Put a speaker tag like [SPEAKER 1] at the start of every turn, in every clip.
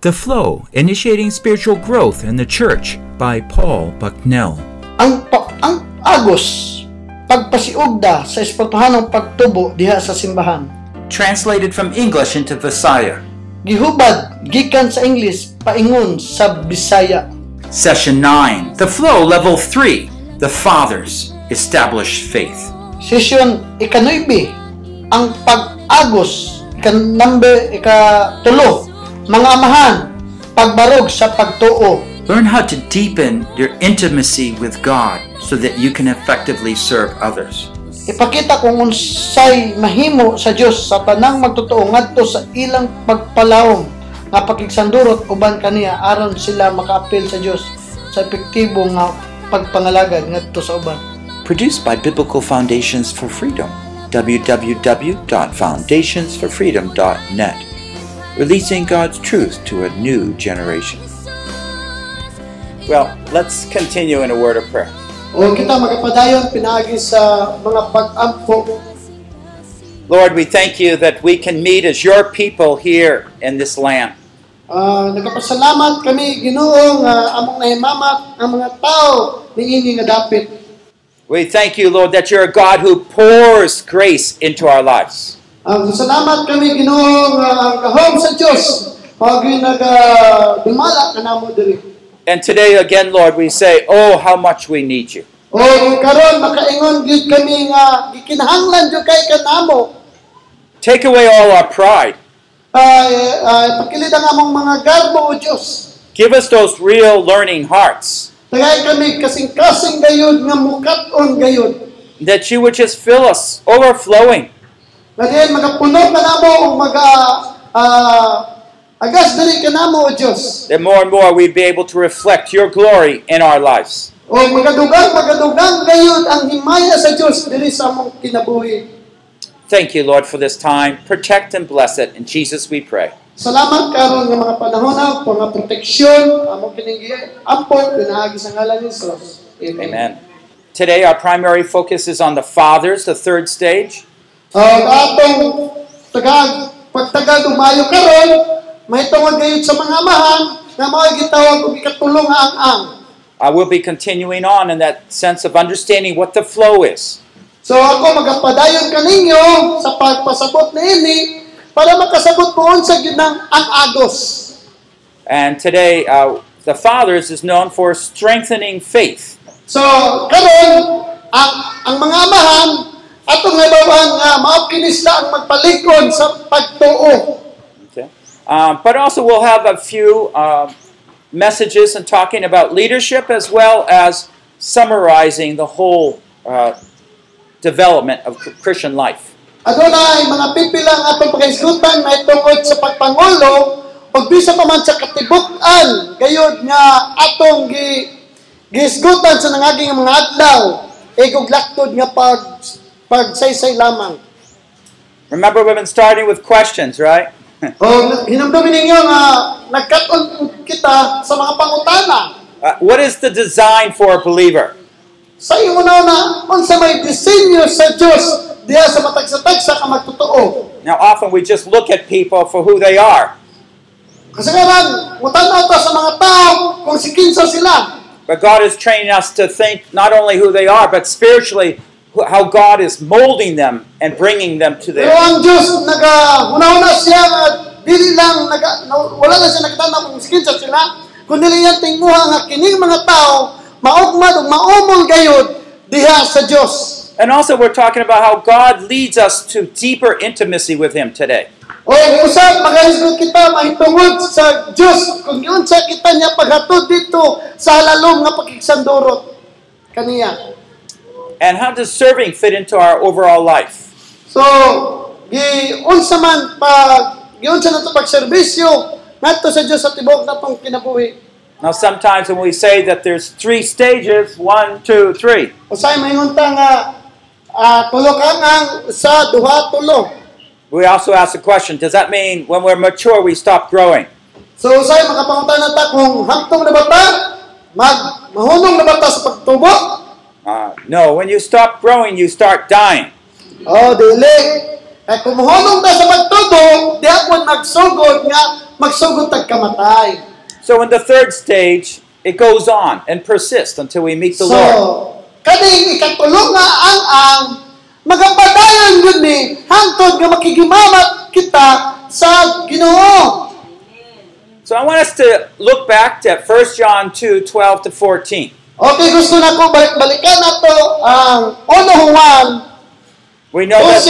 [SPEAKER 1] The Flow Initiating Spiritual Growth in the Church by Paul Bucknell.
[SPEAKER 2] ang pa, ang agos pagpasiugda sa espirituhanong pagtubo diha sa simbahan
[SPEAKER 3] Translated from English into Visaya.
[SPEAKER 2] gihubad gikan sa English paingon sa Bisaya
[SPEAKER 3] Session 9. The Flow Level 3. The Fathers Established Faith.
[SPEAKER 2] session ikanoybe ang pag-agos ikan number ikatulo mga amahan pagbarog sa pagtuo
[SPEAKER 3] Learn how to deepen your intimacy with God so that you can effectively serve others.
[SPEAKER 2] ipakita kung unsay mahimo sa Dios sa tanang magtotoo ngadto sa ilang pagpalawom nga pakigsandurot uban kaniya aron sila makaapil sa Dios sa epektibo nga pagpangalagad ngadto sa uban.
[SPEAKER 3] Produced by Biblical Foundations for Freedom. www.foundationsforfreedom.net. Releasing God's truth to a new generation.
[SPEAKER 4] Well, let's continue in a word of prayer.
[SPEAKER 2] O kita magapadayon pinaagi sa mga pag-ampo
[SPEAKER 4] Lord, we thank you that we can meet as your people here in this land.
[SPEAKER 2] Ah, nagapasalamat kami Ginoo nga among nahimamat ang mga tao niini nga dapit.
[SPEAKER 4] We thank you, Lord, that you're a God who pours grace into our lives.
[SPEAKER 2] Ang salamat Ah, kami Ginoo nga ang kahom sa Dios pag ah, nagadumala kanamo diri.
[SPEAKER 4] And today again, Lord, we say, Oh, how much we need you.
[SPEAKER 2] O Eh, karon makaingon gyud kami nga gikinahanglan jud kay kanamo.
[SPEAKER 4] Take away all our pride.
[SPEAKER 2] Ay ay pakilid ang among mga garbo o Dios.
[SPEAKER 4] Give us those real learning hearts,
[SPEAKER 2] Tagay kami kasing-kasing gayud nga mukat-on gayud.
[SPEAKER 4] that you would just fill us overflowing.
[SPEAKER 2] Nga diyan magapuno kanamo ug maga ah, agas diri kanamo o Dios.
[SPEAKER 4] That more and more we'd be able to reflect your glory in our lives.
[SPEAKER 2] O magadugang magadugang gayud ang himaya sa Dios diri sa among kinabuhi.
[SPEAKER 4] Thank you, Lord, for this time. Protect and bless it. In Jesus we pray.
[SPEAKER 2] Salamat karon nga mga panahon na nga proteksyon among kining ampon pinaagi sa ngalan ni Jesus.
[SPEAKER 4] Amen. Today, our primary focus is on the fathers, the third stage.
[SPEAKER 2] Ang atong tagag, pagtagag umayo karon, may tungod gayud sa mga amahan nga mao'y gitawag og ikatulong nga ang-ang.
[SPEAKER 4] I will Uh, be continuing on in that sense of understanding what the flow is.
[SPEAKER 2] So ako magapadayon kaninyo sa pagpasabot niini para makasabot po sa ginang ang agos.
[SPEAKER 4] And today, uh, the fathers is known for strengthening faith.
[SPEAKER 2] So karon ang ang mga amahan atong nabawan nga mao kini sila ang magpalikod sa pagtuo.
[SPEAKER 4] Okay? Um, but also, we'll have a few um messages and talking about leadership as well as summarizing the whole uh, development of Chr- Christian life.
[SPEAKER 2] Adunay mga pipila nga atong pagkaisgutan na tungod sa pagpangulo ug bisan pa man sa katibuk-an gayud nga atong gi gisgutan sa nangaging mga adlaw igog laktod nga pag pagsaysay lamang.
[SPEAKER 4] Remember, we've been starting with questions, right?
[SPEAKER 2] O hinamdamin ninyo nga nagkaton kita sa mga pangutana.
[SPEAKER 4] Uh, what is the design for a believer?
[SPEAKER 2] Sa iyong una unsa may disenyo sa Dios diha sa matagsa-tagsa ka magtotoo.
[SPEAKER 4] Now, often we just look at people for who they are,
[SPEAKER 2] Kasi karon mutan-aw ta sa mga tao kung si kinsa sila.
[SPEAKER 4] but God is training us to think not only who they are, but spiritually wh- how God is molding them and bringing them to their.
[SPEAKER 2] Pero ang Diyos, nagahuna-huna siya at dili lang, naga, na- wala na siya nakatanaw kung skin sa sila, kundi niya tinguha nga kining mga tao, maugmad o maumol gayod diha sa Diyos.
[SPEAKER 4] And also, we're talking about how God leads us to deeper intimacy with Him today.
[SPEAKER 2] O usap, magahisgot kita, mahitungod sa Diyos, kung yun sa kita niya paghatod dito sa halalong nga pakiksandurot kaniya.
[SPEAKER 4] And how does serving fit into our overall life?
[SPEAKER 2] So, giunsa man pag, giunsa na ito pagserbisyo, nato sa Diyos sa tibok na itong kinabuhi.
[SPEAKER 4] Now, sometimes when we say that there's three stages one, two, three.
[SPEAKER 2] Usay mahingunta nga uh, tulo ka nga sa duha tulo.
[SPEAKER 4] We also ask the question Does that mean when we're mature we stop growing?
[SPEAKER 2] So usay makapangutan na ta kung hangtong na bata, mag mahunong na bata sa pagtubo.
[SPEAKER 4] Uh, no, when you stop growing, you start dying.
[SPEAKER 2] Oh, dili. Kaya kumuhulong ta sa pagtubong, di ako magsugod nga, magsugod tagkamatay.
[SPEAKER 4] So in the third stage, it goes on and persists until we meet the
[SPEAKER 2] So,
[SPEAKER 4] Lord.
[SPEAKER 2] kaning ikatulong nga ang ang, magapadayon yun ni, hangtod nga makigimamat kita sa ginoo.
[SPEAKER 4] So I want us to look back to 1 John 2, 12 to 14.
[SPEAKER 2] Okay, gusto na ko balik-balikan na to ang 1 Juan
[SPEAKER 4] We know that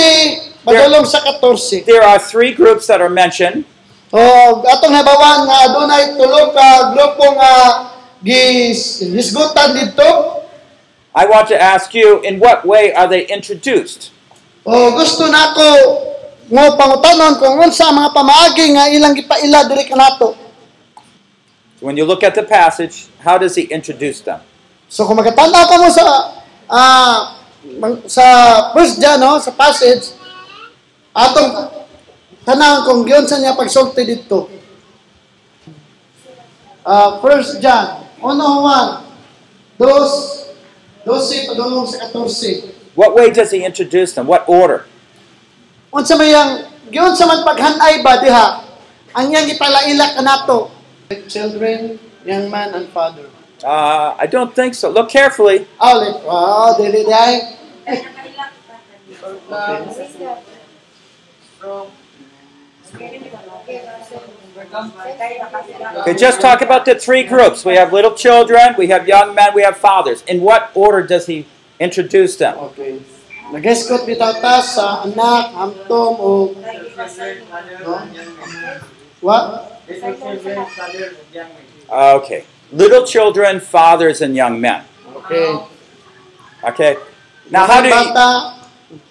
[SPEAKER 2] 12, madulong sa 14.
[SPEAKER 4] there are three groups that are mentioned.
[SPEAKER 2] O Oh, atong nabawan nga adunay tulo ka grupo nga gis hisgutan dito.
[SPEAKER 4] I want to ask you, in what way are they introduced?
[SPEAKER 2] O Oh, gusto nako mo pangutanon kung unsa ang mga pamaagi nga ilang gipaila diri kanato.
[SPEAKER 4] When you look at the passage, how does he introduce them?
[SPEAKER 2] So kung magkatanda ka mo sa ah, mang- sa verse dyan, no, sa passage atong tanang kung giyon sa niya pagsulti dito. Ah, first John, 101, 2, 12, padulong sa 14.
[SPEAKER 4] What way does he introduce them? What order?
[SPEAKER 2] unsa may ang giun sa man paghanay ba diha ang yang ipalaila kanato children young man and father
[SPEAKER 4] Uh, I don't think so. Look carefully.
[SPEAKER 2] Alit, wow, Ah, dili day.
[SPEAKER 4] Okay, just talk about the three groups. We have little children, we have young men, we have fathers. In what order does he introduce them?
[SPEAKER 2] Okay. Nag-escort bitaw ta sa anak, hamtom, o... No? Wa?
[SPEAKER 4] Okay. Little children, fathers, and young men.
[SPEAKER 2] Okay.
[SPEAKER 4] Okay. Now, how do you,
[SPEAKER 2] Bata,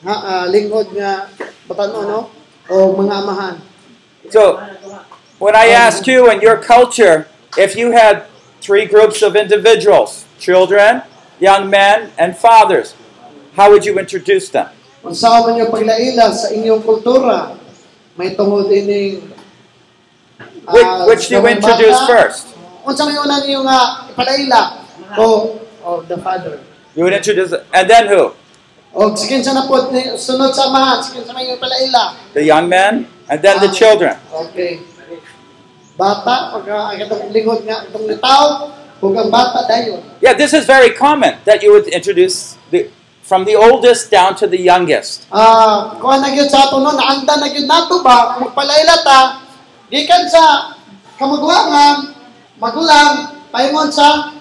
[SPEAKER 2] ha, ah, lingkod nga, batan no? O mga amahan.
[SPEAKER 4] so when I ask you in your culture, if you had three groups of individuals, children, young men, and fathers, how would you introduce them?
[SPEAKER 2] Unsa man yung paglaila sa inyong kultura? May tungod ining
[SPEAKER 4] Which,
[SPEAKER 2] ah,
[SPEAKER 4] which do you
[SPEAKER 2] dalawang
[SPEAKER 4] introduce
[SPEAKER 2] bata.
[SPEAKER 4] first?
[SPEAKER 2] Unsa may una niyo nga palaila? ah, O of the father.
[SPEAKER 4] You would introduce, and then who?
[SPEAKER 2] O sikin sa napod ni sunod sa amahan, sikin sa may palaila.
[SPEAKER 4] The young men, and then the
[SPEAKER 2] Ah.
[SPEAKER 4] children.
[SPEAKER 2] Okay. Bata pagka ang itong lingod nga itong litaw, ug ang bata dayon.
[SPEAKER 4] Yeah, this is very common that you would introduce the, from the oldest down to the youngest.
[SPEAKER 2] Ah, kuha na gyud sa ato no, naanda na gyud nato ba magpalaila ta gikan sa kamagwangan, magulang, paingon sa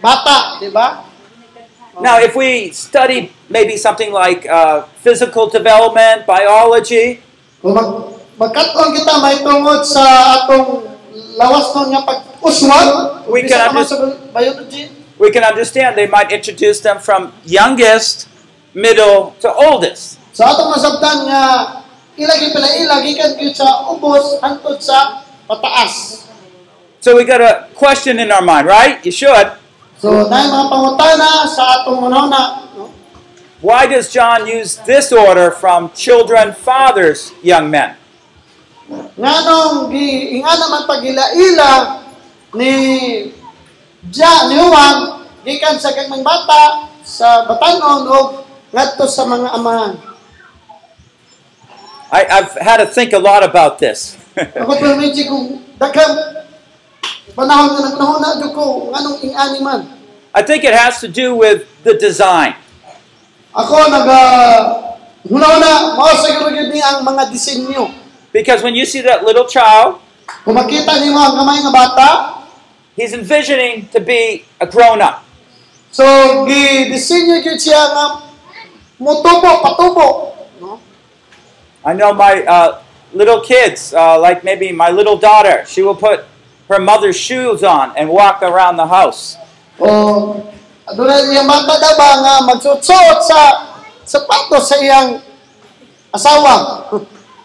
[SPEAKER 2] bata, di ba?
[SPEAKER 4] Now, if we study maybe something like uh, physical development, biology,
[SPEAKER 2] Kung mag magkatong kita may tungod sa atong lawas nun nga pag-uswag,
[SPEAKER 4] We
[SPEAKER 2] ubi sa
[SPEAKER 4] can
[SPEAKER 2] naman sa biology,
[SPEAKER 4] we can understand they might introduce them from youngest, middle, to oldest.
[SPEAKER 2] sa atong masabtan nga ilagi pala ilagi kan gyud sa ubos hangtod sa pataas.
[SPEAKER 4] So we got a question in our mind, right? You should.
[SPEAKER 2] So, na mga pangutana sa atong manona, no?
[SPEAKER 4] Why does John use this order from children, fathers, young men?
[SPEAKER 2] Nganong gi inga naman pagila-ila ni Ja ni Juan gikan sa kagmang bata sa batanon o ngadto sa mga amahan.
[SPEAKER 4] I, I've had to think a lot about this.
[SPEAKER 2] Ako pero medyo kung daghang panahon nga nagpanahon na jud ko nganong ingani man.
[SPEAKER 4] I think it has to do with the design.
[SPEAKER 2] Ako naga huna na mao siguro gyud ni ang mga disenyo.
[SPEAKER 4] Because when you see that little child,
[SPEAKER 2] Kung makita nimo ang kamay nga bata,
[SPEAKER 4] he's envisioning to be a grown up.
[SPEAKER 2] so gi disenyo gyud siya nga mutubo patubo, no?
[SPEAKER 4] I know my uh, little kids, uh, like maybe my little daughter, she will put her mother's shoes on and walk around the house.
[SPEAKER 2] O adunay iyang bata daw ba nga magsuot sa sapatos sa iyang asawa.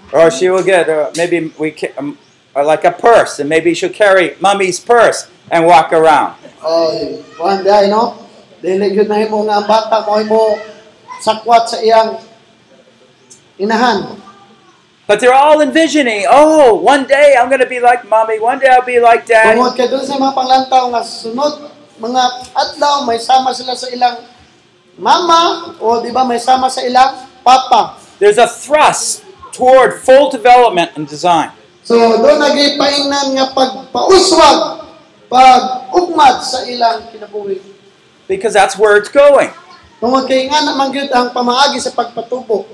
[SPEAKER 4] Or she will get uh, maybe we ca- um, or like a purse, and maybe she'll carry mommy's purse and walk around.
[SPEAKER 2] Oy, kuan day no. Dili gyud na himo nga ang bata mo himo sakwat sa iyang inahan.
[SPEAKER 4] But they're all envisioning, oh, one day I'm going to be like mommy, one day I'll be like
[SPEAKER 2] Tungod
[SPEAKER 4] dad.
[SPEAKER 2] kay dun sa mga panglantaw nga sunod mga adlaw may sama sila sa ilang mama o di ba may sama sa ilang papa.
[SPEAKER 4] there's a thrust toward full development and design.
[SPEAKER 2] So doon naging paingnan nga pagpauswag, pag-ugmad sa ilang kinabuhi.
[SPEAKER 4] Because that's where it's going.
[SPEAKER 2] Tungod kay nga naman gyud ang pamaagi sa pagpatubo.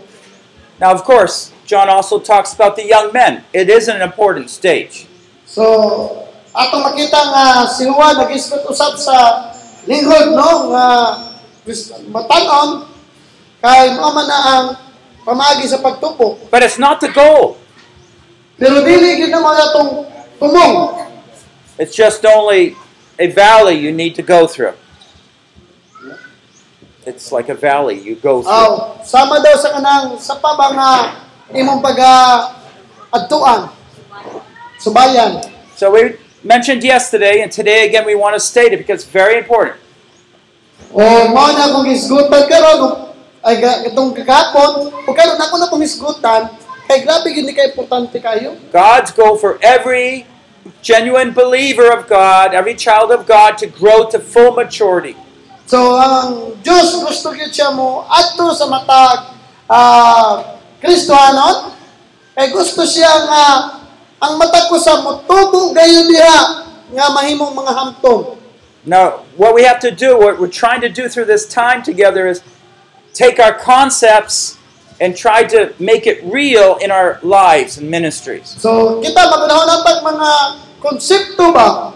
[SPEAKER 4] Now, of course, John also talks about the young men. It is an important stage.
[SPEAKER 2] So atong makita nga si Juan nagisgot usab sa lingkod no nga gusto- matan-on kay mao man na ang pamaagi sa pagtubo.
[SPEAKER 4] But it's not the goal,
[SPEAKER 2] Pero dili gyud naman atong tumong.
[SPEAKER 4] it's just only a valley you need to go through. It's like a valley you go through.
[SPEAKER 2] Aw, sama daw sa kanang sa pa ba nga imong pag adtuan. Subayan.
[SPEAKER 4] So we mentioned yesterday, and today again we want to state it because it's very important.
[SPEAKER 2] O mao na akong isgutan karon o- ay ga- itong kakapon, o karon ako na akong isgutan, kay grabe gyud ni ka importante kayo.
[SPEAKER 4] God's goal for every genuine believer of God, every child of God, to grow to full maturity.
[SPEAKER 2] So ang Dios gusto gyud siya mo adto sa matag ah Kristohanon kay gusto siya nga ang matag ko sa motubo gayon diha nga mahimong mga hamtong.
[SPEAKER 4] Now, what we have to do, what we're trying to do through this time together, is take our concepts and try to make it real in our lives and ministries.
[SPEAKER 2] So, kita magunahon natag mga konsepto ba?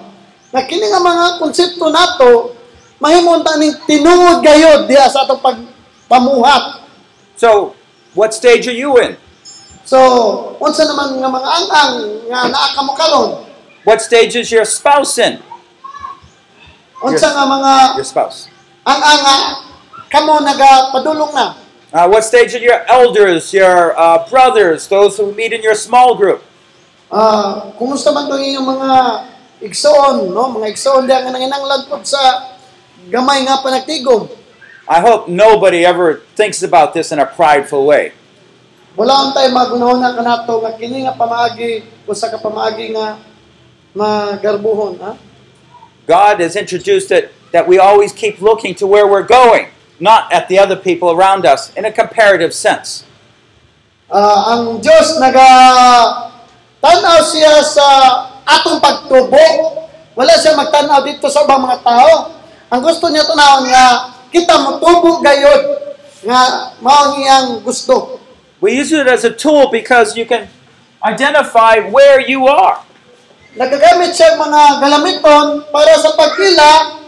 [SPEAKER 2] Na kini nga mga konsepto nato mahimong ta ning tinuod gayod diha sa atong pagpamuhat.
[SPEAKER 4] So, what stage are you in?
[SPEAKER 2] So, unsa naman nga mga angang nga naa kamo karon?
[SPEAKER 4] What stage is your spouse in?
[SPEAKER 2] Unsa
[SPEAKER 4] Yes.
[SPEAKER 2] nga mga
[SPEAKER 4] Your spouse.
[SPEAKER 2] angang nga kamo nagapadulong na?
[SPEAKER 4] Uh, what stage are your elders, your uh, brothers, those who meet in your small group?
[SPEAKER 2] Ah, kumusta man tong inyong mga igsoon, no? Mga igsoon diha nga nanginahanglan pod sa gamay nga panagtigom.
[SPEAKER 4] I hope nobody ever thinks about this in a prideful way.
[SPEAKER 2] Wala man tayo magunahon na kanato nga kini nga pamaagi usa ka pamaagi nga magarbuhon, ha?
[SPEAKER 4] God has introduced it that we always keep looking to where we're going, not at the other people around us in a comparative sense.
[SPEAKER 2] Ah, ang Dios naga tan-aw siya sa atong pagtubo. Wala siya magtan-aw dito sa ubang mga tao. Ang gusto niya tanawon nga kita motubo gayod nga mao niyang gusto.
[SPEAKER 4] We use it as a tool because you can identify where you are.
[SPEAKER 2] Nagagamit siya ng mga galamiton para sa pagpila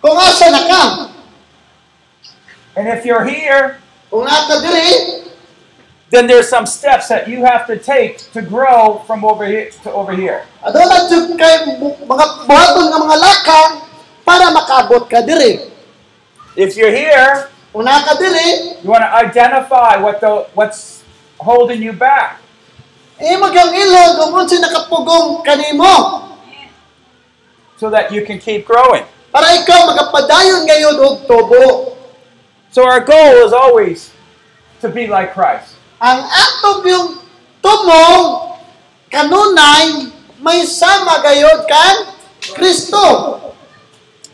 [SPEAKER 2] kung asa na ka.
[SPEAKER 4] And if you're here,
[SPEAKER 2] Kung ata diri,
[SPEAKER 4] then there's some steps that you have to take to grow from over here to over here.
[SPEAKER 2] aduna jud kay bu- mga buhaton nga mga laka para makaabot ka diri.
[SPEAKER 4] If you're here,
[SPEAKER 2] Kung naa ka diri,
[SPEAKER 4] you want to identify what the what's holding you back.
[SPEAKER 2] imog ang Eh, ilog kung unsa nakapugong kanimo
[SPEAKER 4] so that you can keep growing.
[SPEAKER 2] para ikaw magapadayon ngayon og tubo.
[SPEAKER 4] So our goal is always to be like Christ.
[SPEAKER 2] Ang atong yung tumong kanunay may sama gayod kan Kristo.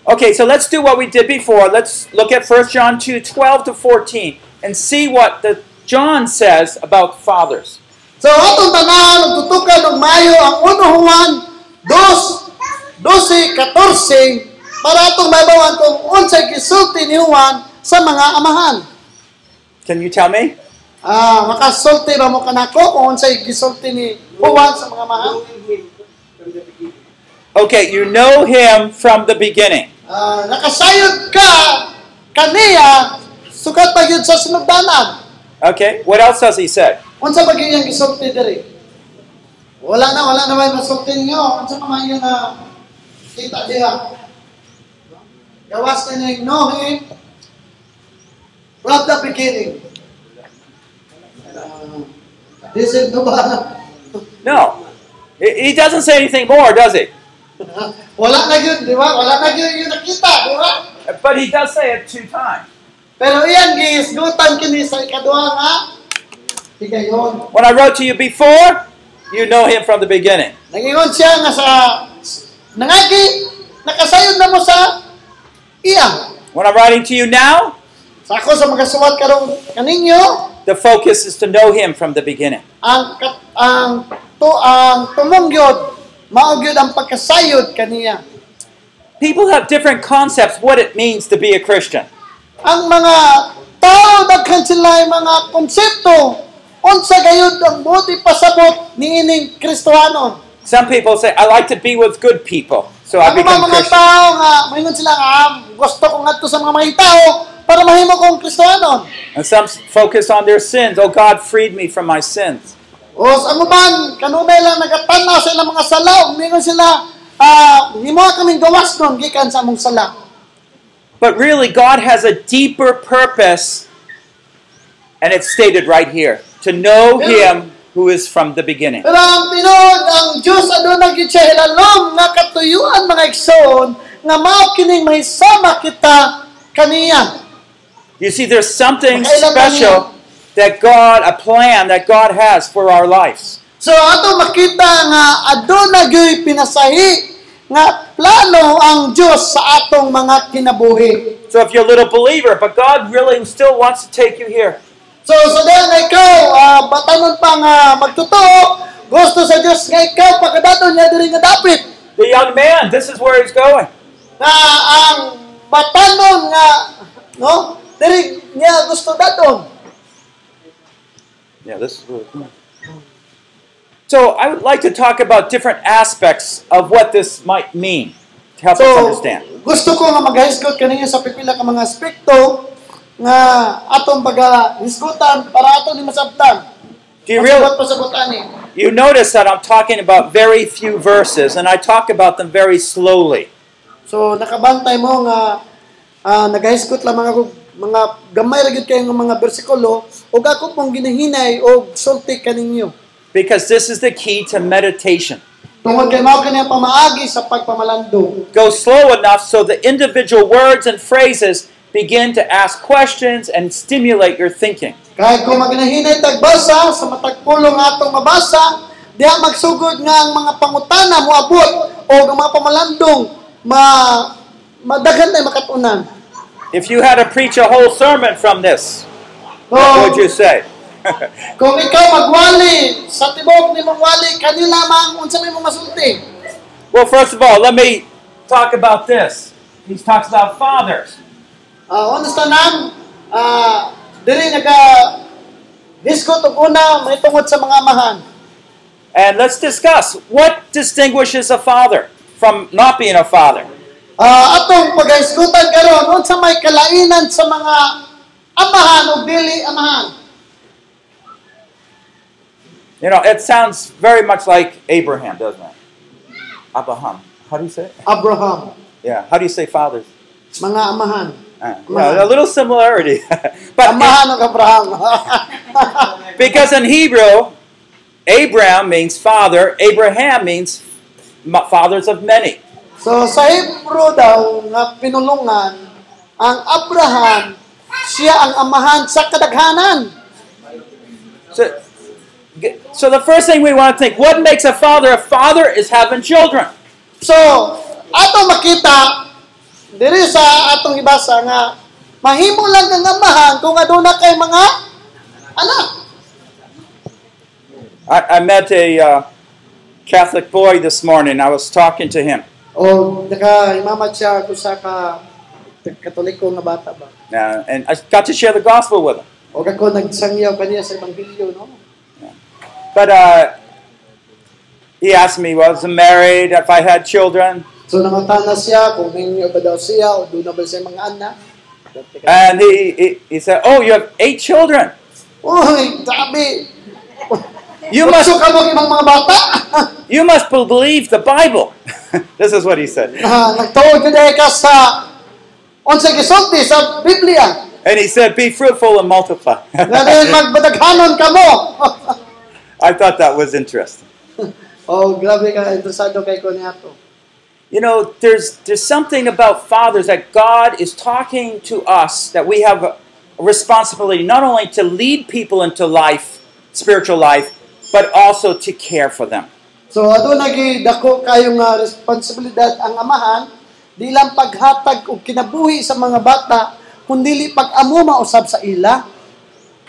[SPEAKER 4] Okay, so let's do what we did before. Let's look at 1 John 2 12 to 14 and see what the John says about fathers.
[SPEAKER 2] So atong tanahan og tutukan og maayo ang 1 Juan 2 12-14 para atong maibawan kung unsay gisulti ni Juan sa mga amahan.
[SPEAKER 4] Can you tell me?
[SPEAKER 2] Ah, makasulti ra mo kanako kung unsay gisulti ni Juan sa mga amahan.
[SPEAKER 4] Okay, you know him from the beginning.
[SPEAKER 2] Ah, nakasayod ka kaniya sukat pa gyud sa sunugdanan.
[SPEAKER 4] Okay, what else does he say?
[SPEAKER 2] Unsa ba gyud ang gisulti diri? Wala na, wala na may masulti ninyo. Unsa pa man yun na kita diha? Gawas na niya ignohin from the beginning. Uh, this is no ba?
[SPEAKER 4] No. He he doesn't say anything more, does he?
[SPEAKER 2] Wala na yun, di ba? Wala na yun yung nakita, di ba?
[SPEAKER 4] But he does say it two times.
[SPEAKER 2] Pero iyan, gihisgutan kini sa ikaduha nga. Higayon.
[SPEAKER 4] When I wrote to you before, you know him from the beginning.
[SPEAKER 2] Nangingon siya nga sa nangagi nakasayod na mo sa iya.
[SPEAKER 4] When I'm writing to you now,
[SPEAKER 2] Sa ako sa mga suwat karong kaninyo,
[SPEAKER 4] the focus is to know Him from the beginning.
[SPEAKER 2] ang kat, ang to ang tumongyod mao gyud ang pagkasayod kaniya
[SPEAKER 4] People have different concepts what it means to be a Christian.
[SPEAKER 2] ang mga tao daghan sila mga konsepto unsa gayud ang buti pasabot niining Kristohanon
[SPEAKER 4] Some people say, "I like to be with good people, so I
[SPEAKER 2] Ano
[SPEAKER 4] become
[SPEAKER 2] mga mga
[SPEAKER 4] Christian."
[SPEAKER 2] tao nga mahingon sila nga "Ah, gusto ko ngadto sa mga may tao para mahimo kong Kristohanon
[SPEAKER 4] And some focus on their sins. Oh, God freed me from my sins.
[SPEAKER 2] O ang uban, kanunay ano lang nagatanaw sa ilang mga sala, umingon sila, ah, himo kaming gawas nun, gikan sa among sala.
[SPEAKER 4] But really, God has a deeper purpose, and it's stated right here to know Him who is from the beginning.
[SPEAKER 2] Pero ang tinuod, ang Diyos aduna gyud siya hilalom nga katuyuan mga igsoon nga mao kining mahisama kita kaniya.
[SPEAKER 4] You see, there's something
[SPEAKER 2] Okay, lang lang
[SPEAKER 4] special that God, a plan that God has for our lives.
[SPEAKER 2] So ato makita nga aduna gyud pinasahi nga plano ang Diyos sa atong mga kinabuhi.
[SPEAKER 4] So if you're a little believer, but God really still wants to take you here.
[SPEAKER 2] So, so dahil nga ikaw, ah, batanon pa nga magtotoo, gusto sa Diyos nga ikaw, pagkadato niya diri nga dapit.
[SPEAKER 4] The young man, this is where he's going.
[SPEAKER 2] na ang batanon nga no diri niya gusto daton
[SPEAKER 4] Yeah, this is where he's going. So I would like to talk about different aspects of what this might mean to help us
[SPEAKER 2] so
[SPEAKER 4] understand.
[SPEAKER 2] gusto ko nga maghisgot kaniya sa pipila ka mga aspekto nga atong pagahisgotan para ato ni masabtan
[SPEAKER 4] Do you realize?
[SPEAKER 2] pasabot pasabot ani
[SPEAKER 4] You notice that I'm talking about very few verses, and I talk about them very slowly.
[SPEAKER 2] so nakabantay mo nga uh, naghisgot lang mga mga gamay ra gyud kayo nga mga bersikulo ug ako pong ginahinay og sulti kaninyo
[SPEAKER 4] Because this is the key to meditation.
[SPEAKER 2] tungod kay mao kaniya pamaagi sa pagpamalandong
[SPEAKER 4] Go slow enough so the individual words and phrases begin to ask questions and stimulate your thinking.
[SPEAKER 2] Kahit kung magnahinay tagbasa, sa matagpulong atong mabasa, diha magsugod nga ang mga pangutana moabot o ang mga pamalandong ma madaghan tay makatunan.
[SPEAKER 4] If you had to preach a whole sermon from this, what would you
[SPEAKER 2] Kung,
[SPEAKER 4] say?
[SPEAKER 2] kung ikaw magwali sa tibok ni mong wali kanila mang unsa may mong masulti.
[SPEAKER 4] well, first of all, let me talk about this. He talks about fathers.
[SPEAKER 2] Ah, unsa tanan? Ah, diri naga diskot og una may tungod sa mga amahan.
[SPEAKER 4] And let's discuss what distinguishes a father from not being a father.
[SPEAKER 2] Ah, atong paghisgutan karon unsa may kalainan sa mga amahan o dili amahan.
[SPEAKER 4] You know, it sounds very much like Abraham, doesn't it? Abraham. How do you say it?
[SPEAKER 2] Abraham,
[SPEAKER 4] Yeah. How do you say fathers?
[SPEAKER 2] mga amahan.
[SPEAKER 4] Uh, yeah, a little similarity. but
[SPEAKER 2] Amahan ng Abraham.
[SPEAKER 4] because in Hebrew, Abraham means father, Abraham means m- fathers of many.
[SPEAKER 2] so sa Hebrew daw nga pinulungan, ang Abraham, siya ang amahan sa kadaghanan.
[SPEAKER 4] So, g- so the first thing we want to think what makes a father a father is having children.
[SPEAKER 2] So, ato makita, diri sa atong ibasa nga, mahimo lang ang amahan kung aduna kay mga anak.
[SPEAKER 4] I, I met a uh, Catholic boy this morning. I was talking to him.
[SPEAKER 2] O, naka imamat siya kung sa ka, katoliko nga bata ba.
[SPEAKER 4] Uh, and I got to share the gospel with him.
[SPEAKER 2] O kako nagsangyaw kaniya sa ebanghelyo, no?
[SPEAKER 4] But uh, he asked me, well, was I married, if I had children.
[SPEAKER 2] So nangatana siya kung ninyo ba daw siya o doon na ba siya mga anak.
[SPEAKER 4] And he, he, he said, oh, you have eight children.
[SPEAKER 2] Uy, sabi!
[SPEAKER 4] You must,
[SPEAKER 2] Gusto ka mong ibang mga bata?
[SPEAKER 4] you must believe the Bible. this is what he said.
[SPEAKER 2] Ah, Nagtuod ko dahil ka sa unsay gisulti sa Biblia.
[SPEAKER 4] And he said, be fruitful and multiply.
[SPEAKER 2] Na dahil magbadaghanon ka mo.
[SPEAKER 4] I thought that was interesting.
[SPEAKER 2] oh, grabe ka, interesado kay ko niya to.
[SPEAKER 4] You know, there's, there's something about fathers that God is talking to us that we have a responsibility not only to lead people into life, spiritual life, but also to care for them.
[SPEAKER 2] So, ato nagidako kayo nga responsibilidad ang amahan, di lang paghatag o kinabuhi sa mga bata, kundi pag-amo mausab sa ila.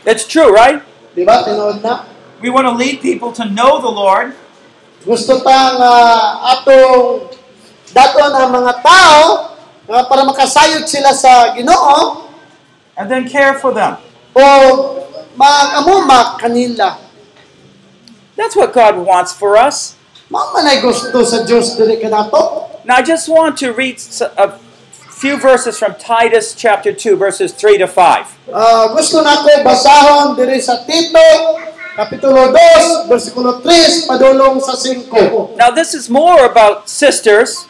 [SPEAKER 4] It's true, right?
[SPEAKER 2] Di ba? Tinood na.
[SPEAKER 4] We want to lead people to know the Lord,
[SPEAKER 2] Gusto tang ah, atong daton ang mga tao ah, para makasayod sila sa Ginoo
[SPEAKER 4] and then care for them.
[SPEAKER 2] o magamuma kanila.
[SPEAKER 4] That's what God wants for us.
[SPEAKER 2] Mao man ay gusto sa Dios dili kanato.
[SPEAKER 4] Now, I just want to read s- a few verses from Titus chapter 2, verses 3 to 5.
[SPEAKER 2] Ah, gusto nako basahon diri sa Tito kapitulo 2 bersikulo 3 padulong sa 5.
[SPEAKER 4] Now, this is more about sisters,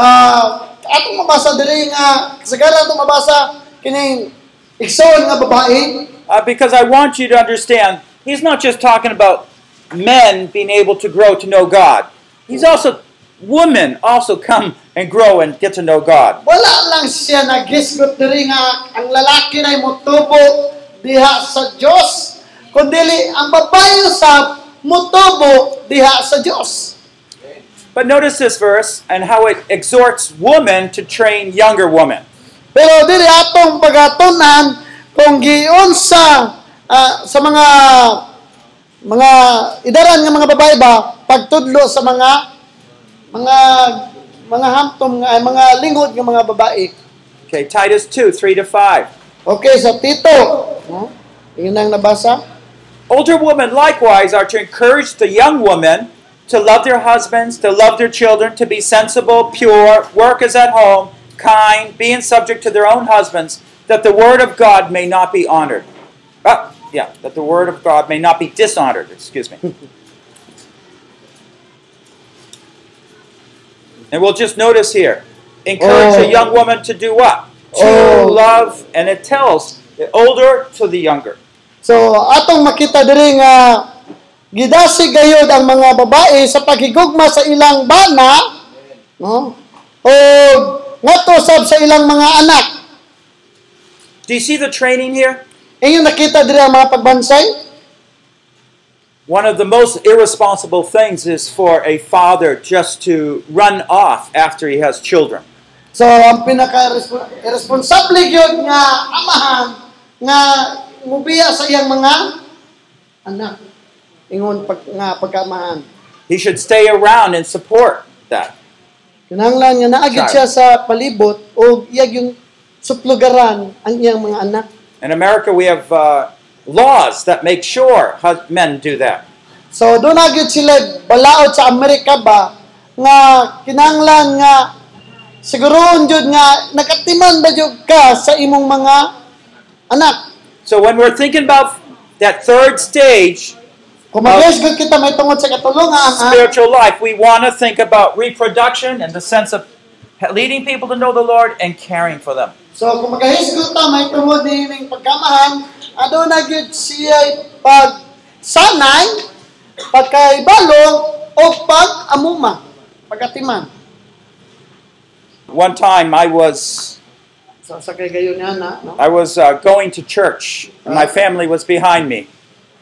[SPEAKER 2] Ah, atong mabasa diri nga sagara atong mabasa kining igsoon nga babae
[SPEAKER 4] uh, because I want you to understand he's not just talking about men being able to grow to know God, he's also, women also come and grow and get to know God.
[SPEAKER 2] wala lang siya nagisgot diri nga ang lalaki na motubo diha sa Dios kundili ang babae sa motubo diha sa Dios.
[SPEAKER 4] But notice this verse and how it exhorts women to train younger women.
[SPEAKER 2] Pero dili atong pagatunan kung giunsa ah, sa mga mga idaran nga mga babae ba pagtudlo sa mga mga mga hamtom nga ay, mga lingkod nga mga babae.
[SPEAKER 4] Okay, Titus 2, 3 to 5.
[SPEAKER 2] Okay, sa Tito. Huh? Yun ang nabasa.
[SPEAKER 4] Older women likewise are to encourage the young women to love their husbands, to love their children, to be sensible, pure, workers at home, kind, being subject to their own husbands, that the word of God may not be honored. Ah, yeah, that the word of God may not be dishonored, excuse me. and we'll just notice here encourage the
[SPEAKER 2] Oh.
[SPEAKER 4] young woman to do what? To
[SPEAKER 2] Oh.
[SPEAKER 4] love, and it tells the older to the younger.
[SPEAKER 2] So atong makita diri nga gidasig gayod ang mga babae sa paghigugma sa ilang bana no? o ngato sab sa ilang mga anak.
[SPEAKER 4] Do you see the training here?
[SPEAKER 2] Inyo Eh, nakita diri ang mga pagbansay?
[SPEAKER 4] One of the most irresponsible things is for a father just to run off after he has children.
[SPEAKER 2] So ang pinaka irresponsible gyud nga amahan nga mubiya sa iyang mga anak. Ingon pag nga pagkamahan.
[SPEAKER 4] He should stay around and support that.
[SPEAKER 2] Kinahanglan nga naagid siya sa palibot o iyag yung suplugaran ang iyang mga anak.
[SPEAKER 4] In America, we have uh, laws that make sure hus- men do that.
[SPEAKER 2] So doon na gyud sila balaod sa Amerika ba nga kinanglan nga siguroon jud nga nakatiman ba jud ka sa imong mga anak.
[SPEAKER 4] So when we're thinking about that third stage,
[SPEAKER 2] Kung mag-yes gud kita may tungod sa katulungan ha.
[SPEAKER 4] spiritual life, we want to think about reproduction in the sense of leading people to know the Lord and caring for them.
[SPEAKER 2] So kung mag-yes gud ta may tungod ning pagkamahan aduna na gyud siya pag sanay pagkaibalong o pag-amuma pagatiman.
[SPEAKER 4] One time, I was
[SPEAKER 2] So sa kay gayon nga na no.
[SPEAKER 4] I was uh, going to church, and my family was behind me.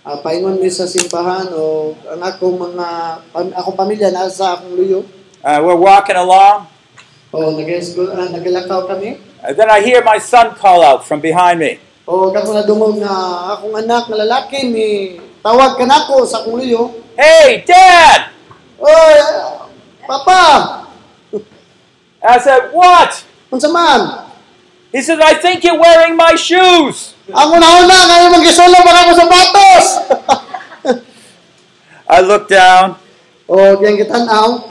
[SPEAKER 2] Ah, paingon mi sa simbahan o ang akong mga pam, akong pamilya na sa akong luyo.
[SPEAKER 4] Uh, we're walking along,
[SPEAKER 2] O nag-school ah, naglakaw kami.
[SPEAKER 4] and then I hear my son call out from behind me.
[SPEAKER 2] O kako na dumog nga akong anak na lalaki mi tawag ka nako sa akong luyo.
[SPEAKER 4] Hey, Dad!
[SPEAKER 2] Oy, papa,
[SPEAKER 4] I said, What?
[SPEAKER 2] unsa man?
[SPEAKER 4] He said, I think you're wearing my shoes.
[SPEAKER 2] Ang una-una kayo magisulo ba ako sa batos?
[SPEAKER 4] I look down,
[SPEAKER 2] o diyan kitanaw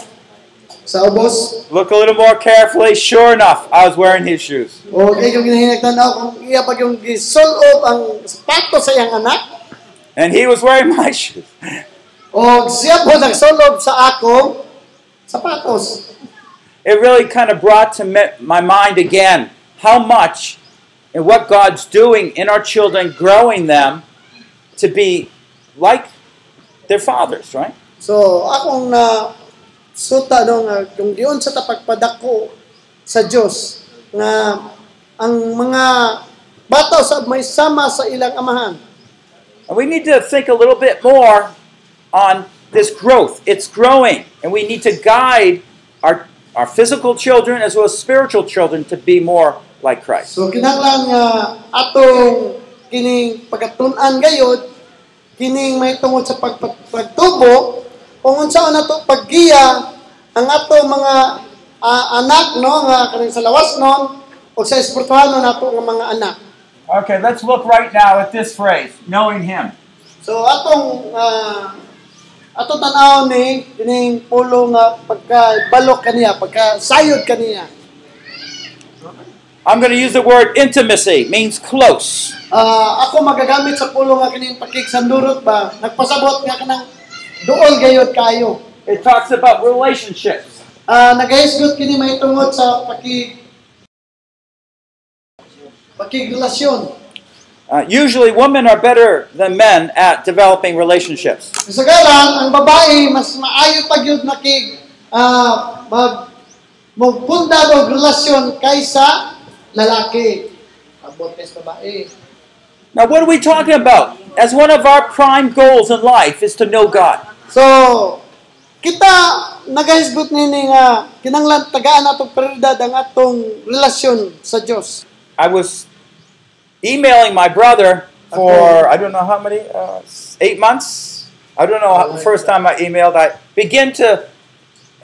[SPEAKER 2] sa ubos.
[SPEAKER 4] look a little more carefully. Sure enough, I was wearing his shoes.
[SPEAKER 2] O kayo yung ginahinagtanaw kung iya pag yung gisulob ang sapatos sa iyang anak.
[SPEAKER 4] And he was wearing my shoes.
[SPEAKER 2] O siya po nagsulob sa akong sapatos.
[SPEAKER 4] It really kind of brought to me- my mind again how much and what God's doing in our children, growing them to be like their fathers, right?
[SPEAKER 2] So, akong na suta no nga kung diyon sa tapagpadako sa Dios nga ang mga bata sa may sama sa ilang amahan.
[SPEAKER 4] And we need to think a little bit more on this growth. It's growing, and we need to guide our, our physical children as well as spiritual children to be more like Christ.
[SPEAKER 2] So kinahanglan nga atong kining pagatun-an gayod kining may tungod sa pag, pag- pagtubo kung unsa na to paggiya ang ato mga ah, anak no nga kaning sa lawas non o sa espirituhano nato nga mga anak
[SPEAKER 5] Okay, let's look right now at this phrase, knowing him.
[SPEAKER 2] so atong ah, ato tan-aw ni kining pulo nga pagkabalok kaniya pagkasayod kaniya
[SPEAKER 4] I'm going to use the word intimacy, means close.
[SPEAKER 2] Ah, ako magagamit sa pulo nga kining pakigsandurot ba nagpasabot nga kanang duol gayod kayo
[SPEAKER 4] It talks about relationships.
[SPEAKER 2] Ah, nagahisgot kini may tungod sa paki pakigrelasyon.
[SPEAKER 4] Uh, usually, women are better than men at developing relationships.
[SPEAKER 2] Sa galan, ang babae mas maayo pag yun nakig ah, mag magpundar og relasyon kaysa lalaki. Abot kay sa babae.
[SPEAKER 4] Now, what are we talking about? As one of our prime goals in life is to know God.
[SPEAKER 2] So, kita nagahisgot nini nga kinanglan tagaan atong prioridad ang atong relasyon sa Dios.
[SPEAKER 4] I was emailing my brother for I don't know how many uh, eight months. I don't know. how- the first time I emailed, I begin to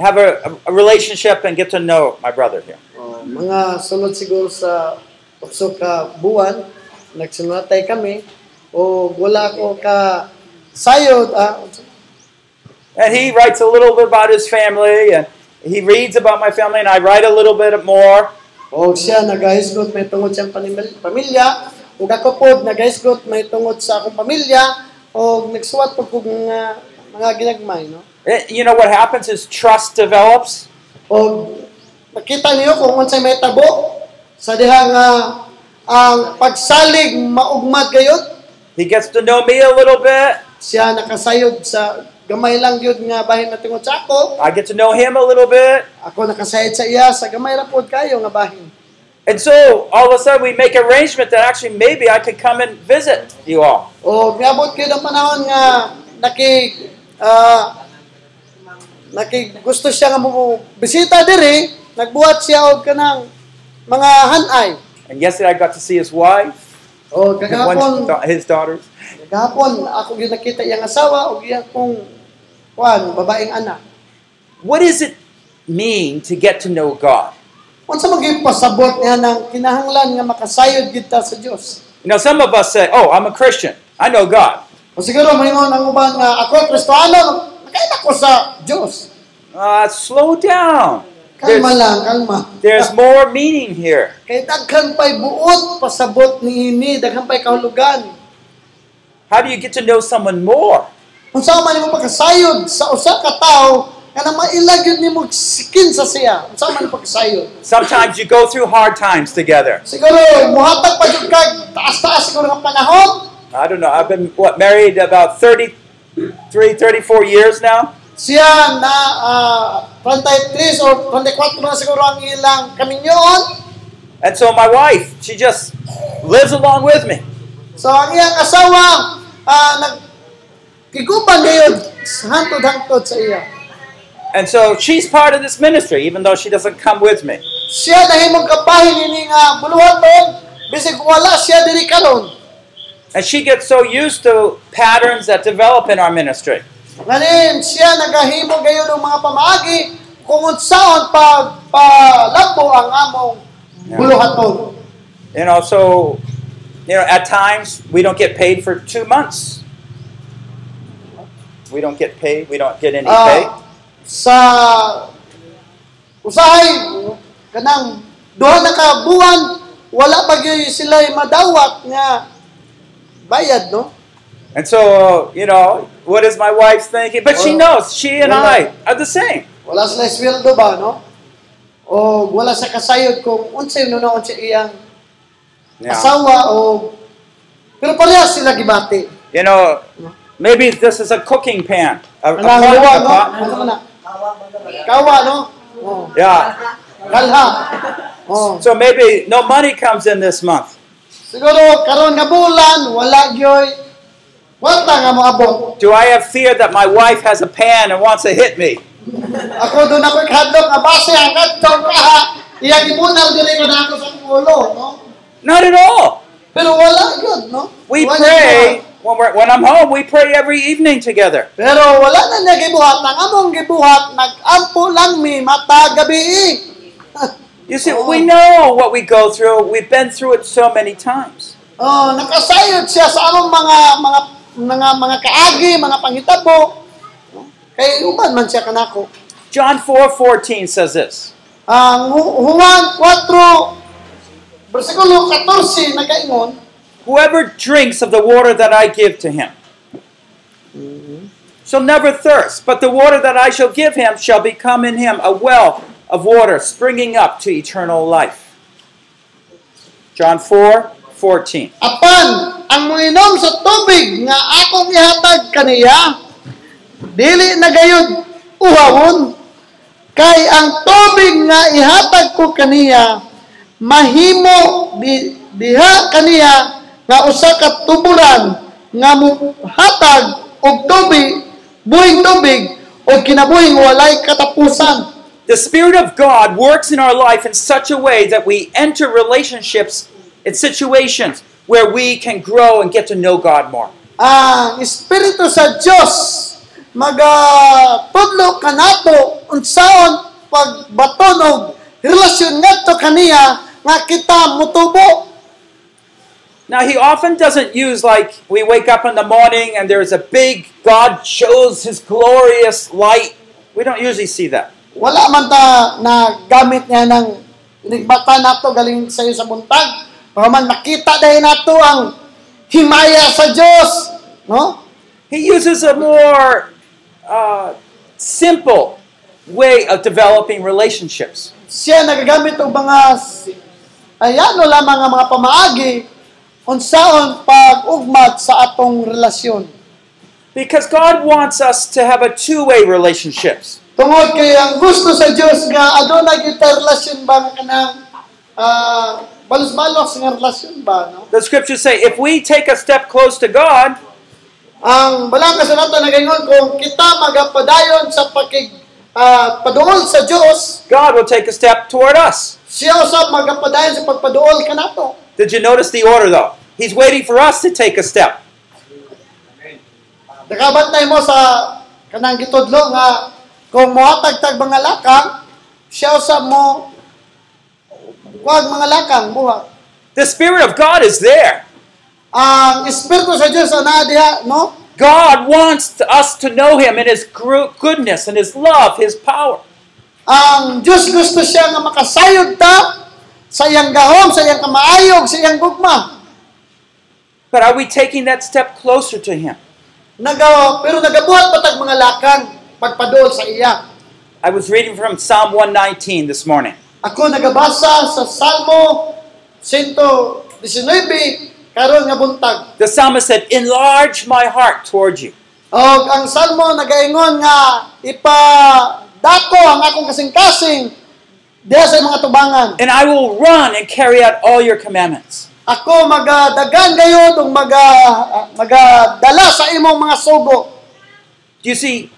[SPEAKER 4] have a, a relationship and get to know my brother here.
[SPEAKER 2] Oh, mga sunod siguro sa usok ka buwan, nagsunatay kami, o wala ko ka sayod, ah,
[SPEAKER 4] And he writes a little bit about his family, and he reads about my family, and I write a little bit more.
[SPEAKER 2] o siya nagahisgot may tungod siyang panimil- pamilya, o ako po nagahisgot may tungod sa akong pamilya, o nagsuwat po kong mga, mga ginagmay, no?
[SPEAKER 4] Eh, you know what happens is trust develops.
[SPEAKER 2] O makita niyo kung unsay may tabo sa dihang ah, ang pagsalig maugmad gayod,
[SPEAKER 4] He gets to know me a little bit.
[SPEAKER 2] siya nakasayod sa gamay lang yun nga bahin na tungod sa ako,
[SPEAKER 4] I get to know him a little bit.
[SPEAKER 2] Ako nakasayad sa iya, sa gamay ra pod kayo nga bahin.
[SPEAKER 4] And so all of a sudden we make arrangement that actually maybe I could come and visit you all.
[SPEAKER 2] O gabot kayo ng panahon nga naki ah, naki gusto siya nga mo bisita diri, nagbuhat siya og kanang mga hanay.
[SPEAKER 4] And yesterday I got to see his wife,
[SPEAKER 2] O
[SPEAKER 4] and one,
[SPEAKER 2] kagahapon,
[SPEAKER 4] his daughters.
[SPEAKER 2] kagahapon ako gyud nakita iyang asawa og iya kong kuan babaeng anak.
[SPEAKER 4] What does it mean to get to know God?
[SPEAKER 2] Unsa maging pasabot niya ng kinahanglan nga makasayod gid ta sa Dios?
[SPEAKER 4] You know, some of us say, "Oh, I'm a Christian. I know God."
[SPEAKER 2] O siguro mahingon ang uban nga ako Kristiyano, nakaila ko sa Dios.
[SPEAKER 4] Uh, slow down. There's,
[SPEAKER 2] Kalma lang, kalma.
[SPEAKER 4] there's more meaning here.
[SPEAKER 2] Kay daghan pa'y buot pasabot ni ini, daghan pa'y kahulugan.
[SPEAKER 4] How do you get to know someone more?
[SPEAKER 2] Kung saan man nimo pagkasayod sa usa ka tawo, kana mailag yun nimo sikin sa siya. Kung saan man nimo pagkasayod.
[SPEAKER 4] Sometimes you go through hard times together.
[SPEAKER 2] Siguro muhatag pa jud kag taas-taas siguro nga panahon.
[SPEAKER 4] I don't know. I've been what married about 33, 34 years now.
[SPEAKER 2] Siya na ah, 23 or 24 na siguro ang ilang kaminyoon.
[SPEAKER 4] And so my wife, she just lives along with me.
[SPEAKER 2] So ang iyang asawa ah, nag kiguban gayud hantod-hantod sa iya.
[SPEAKER 4] And so she's part of this ministry, even though she doesn't come with me.
[SPEAKER 2] siya nahimong kapahin ini nga buluhan man bisig wala siya diri karon
[SPEAKER 4] And she gets so used to patterns that develop in our ministry.
[SPEAKER 2] nganin siya nagahimo gayon og mga pamaagi kung unsaon pa palabo ang among buluhaton
[SPEAKER 4] You know, so, you know, at times we don't get paid for two months. We don't get paid, we don't get any
[SPEAKER 2] Ah, sa usahay kanang duha na ka buwan wala pa gyud sila madawat nga bayad no
[SPEAKER 4] pay. And so, you know, what is my wife thinking? But she
[SPEAKER 2] Well-
[SPEAKER 4] knows she and
[SPEAKER 2] well,
[SPEAKER 4] I are the same.
[SPEAKER 2] wala sila sweldo ba no o wala sa kasayod kung unsay nunoon sa iyang
[SPEAKER 4] Yeah.
[SPEAKER 2] asawa o pero parehas sila gibati.
[SPEAKER 4] You know, maybe this is a cooking pan. A, a
[SPEAKER 2] Ang
[SPEAKER 4] pot-
[SPEAKER 2] kawa,
[SPEAKER 4] a
[SPEAKER 2] no?
[SPEAKER 4] pot.
[SPEAKER 2] Ano man na? Kawa, no? Oh.
[SPEAKER 4] Yeah.
[SPEAKER 2] Kalha. Oh.
[SPEAKER 4] So maybe no money comes in this month.
[SPEAKER 2] Siguro karon nga bulan wala gyoy wala nga moabot.
[SPEAKER 4] Do I have fear that my wife has a pan and wants to hit me?
[SPEAKER 2] Ako doon ako ikadlok nga base ang kadlok ka ha. Iya gibunal diri ko na ako sa ulo, no?
[SPEAKER 4] Not at all.
[SPEAKER 2] Pero wala yun, no?
[SPEAKER 4] We
[SPEAKER 2] wala
[SPEAKER 4] pray
[SPEAKER 2] niya.
[SPEAKER 4] when, we're, when I'm home. We pray every evening together.
[SPEAKER 2] Pero wala na niya gibuhat. Ang among gibuhat, nag-ampo lang mi mata gabi.
[SPEAKER 4] You see, we know what we go through. We've been through it so many times.
[SPEAKER 2] Oh, nakasayod siya sa among mga mga mga mga kaagi, mga panghitabo. Kay uban man siya kanako.
[SPEAKER 4] John 4:14 says this.
[SPEAKER 2] Ang Hu- Juan 4 bersikulo 14 nakaingon,
[SPEAKER 4] Whoever drinks of the water that I give to him shall never thirst, but the water that I shall give him shall become in him a well of water springing up to eternal life. John 4:14.
[SPEAKER 2] apan ang moinom sa tubig nga akong ihatag kaniya dili na gayud uhawon kay ang tubig nga ihatag ko kaniya mahimo di, diha kaniya nga usa ka tuburan nga hatag og tubig buhing tubig o kinabuhing walay katapusan
[SPEAKER 4] The Spirit of God works in our life in such a way that we enter relationships and situations where we can grow and get to know God more.
[SPEAKER 2] ang espiritu sa Dios magatudlo kanato unsaon pagbatonog relasyon ngadto kaniya nga kita mutubo
[SPEAKER 4] Now, He often doesn't use, like, we wake up in the morning and there's a big, God shows His glorious light. We don't usually see that.
[SPEAKER 2] wala man ta na gamit niya ng inigbata nato galing sa iyo sa buntag para man makita dahil nato ang himaya sa Dios no
[SPEAKER 4] He uses a more uh, simple way of developing relationships.
[SPEAKER 2] siya nagagamit og mga ayano lamang nga mga pamaagi unsaon pag-ugmat sa atong relasyon
[SPEAKER 4] Because God wants us to have a two way relationships.
[SPEAKER 2] Tungod kay ang gusto sa Dios nga aduna kita relasyon ba nga kanang ah, balos-balos nga relasyon ba no?
[SPEAKER 4] The scriptures say if we take a step close to God,
[SPEAKER 2] Ang balang kasulatan na gayon kung kita magapadayon sa pakig ah, paduol sa Dios,
[SPEAKER 4] God will take a step toward us.
[SPEAKER 2] siya usab magapadayon sa pagpaduol kanato.
[SPEAKER 4] Did you notice the order though? He's waiting for us to take a step.
[SPEAKER 2] Nakabantay mo sa kanang gitudlo nga kung mohatagtag mga lakang, siya usab mo kuag mga lakang buhat.
[SPEAKER 4] The Spirit of God is there.
[SPEAKER 2] Ang espiritu sa Dios ana diha, no?
[SPEAKER 4] God wants us to know Him in His gro- goodness and His love, His power.
[SPEAKER 2] ang Diyos gusto siya nga makasayod ta sa iyang gahom, sa iyang kamaayog, sa iyang gugma.
[SPEAKER 4] But are we taking that step closer to Him?
[SPEAKER 2] Naga, pero nagabuhat patag mga lakan pagpaduol sa iya.
[SPEAKER 4] I was reading from Psalm 119 this morning.
[SPEAKER 2] Ako nagabasa sa Salmo 119 karon nga buntag.
[SPEAKER 4] The psalmist said, Enlarge my heart toward you.
[SPEAKER 2] Og ang Salmo nagaingon nga ipa dako ang akong kasing-kasing diha sa mga tubangan.
[SPEAKER 4] And I will run and carry out all your commandments.
[SPEAKER 2] Ako magadagan gayud og maga magadala sa imong mga sugo.
[SPEAKER 4] You see,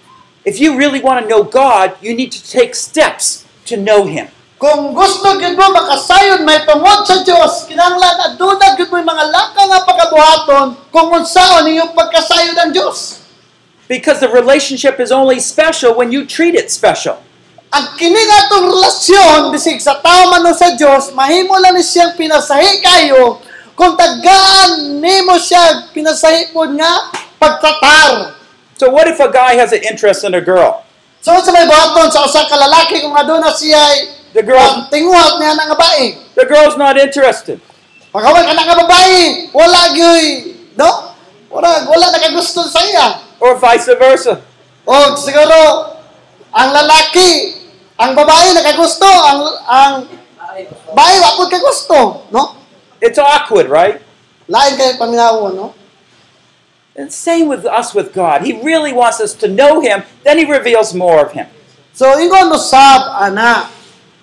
[SPEAKER 4] if you really want to know God, you need to take steps to know Him.
[SPEAKER 2] Kung gusto gid mo makasayon may tungod sa Dios, kinahanglan aduna gid mo mga laka nga pagkabuhaton kung unsaon iyong pagkasayon ang Dios.
[SPEAKER 4] Because the relationship is only special when you treat it special.
[SPEAKER 2] Ang kini nga atong relasyon bisig sa tao man o sa Dios, mahimo lang ni siyang pinasahi kayo kung tagaan nimo siya pinasahi pod nga pagtatar.
[SPEAKER 4] So, what if a guy has an interest in a girl?
[SPEAKER 2] So sa may buhaton sa usa ka lalaki kung aduna siya ay
[SPEAKER 4] The girl,
[SPEAKER 2] tinguhat niya nga babae.
[SPEAKER 4] the girl's not interested.
[SPEAKER 2] Pagawal ka na nga babae, wala gyoy, no? Wala, wala nakagusto sa iya.
[SPEAKER 4] Or vice versa.
[SPEAKER 2] O siguro, ang lalaki, ang babae nakagusto, ang, ang babae wala pud kagusto, no?
[SPEAKER 4] It's awkward, right?
[SPEAKER 2] Lain kay paminawo, no?
[SPEAKER 4] And same with us with God. He really wants us to know Him, then He reveals more of Him.
[SPEAKER 2] So, ingon usab, ana,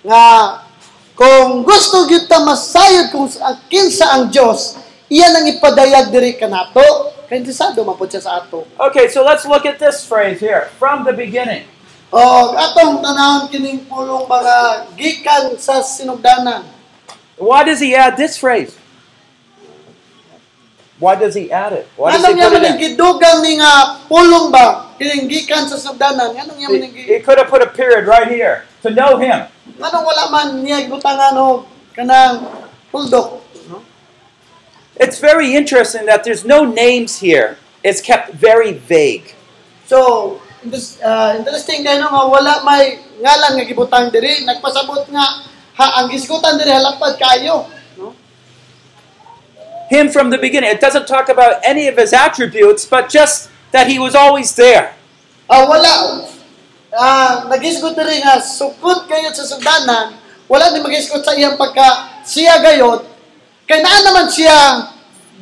[SPEAKER 2] nga, kung gusto gyud ta masayod kung sa- kinsa ang Dios, iyan ang ipadayag diri kanato. Kay interesado man pud siya sa ato.
[SPEAKER 4] Okay, so let's look at this phrase here from the beginning.
[SPEAKER 2] O, atong tanahon kining pulong mga gikan sa sinugdanan.
[SPEAKER 4] Why does He add this phrase? Why does he add it? Why does he
[SPEAKER 2] Anong niya
[SPEAKER 4] put
[SPEAKER 2] man ang
[SPEAKER 4] it in?
[SPEAKER 2] gidugang ni nga pulong ba? Kining gikan sa sugdanan. Anong niya man ang
[SPEAKER 4] He, he
[SPEAKER 2] gi-
[SPEAKER 4] could have put a period right here to know him.
[SPEAKER 2] Anong wala man niya gutangan o kanang puldok. No?
[SPEAKER 4] It's very interesting that there's no names here. It's kept very vague.
[SPEAKER 2] So, this, uh, interesting kayo no, nga wala may ngalan nga gibutang diri. Nagpasabot nga, ha, ang gisgutan diri halapad kayo. No?
[SPEAKER 4] Him from the beginning. It doesn't talk about any of his attributes, but just that he was always there.
[SPEAKER 2] Ah, wala. Ah, nagisgot diri nga sukod kayo sa sugdanan, wala ni magisgot sa iyang pagka siya gayod. Kay naa naman siya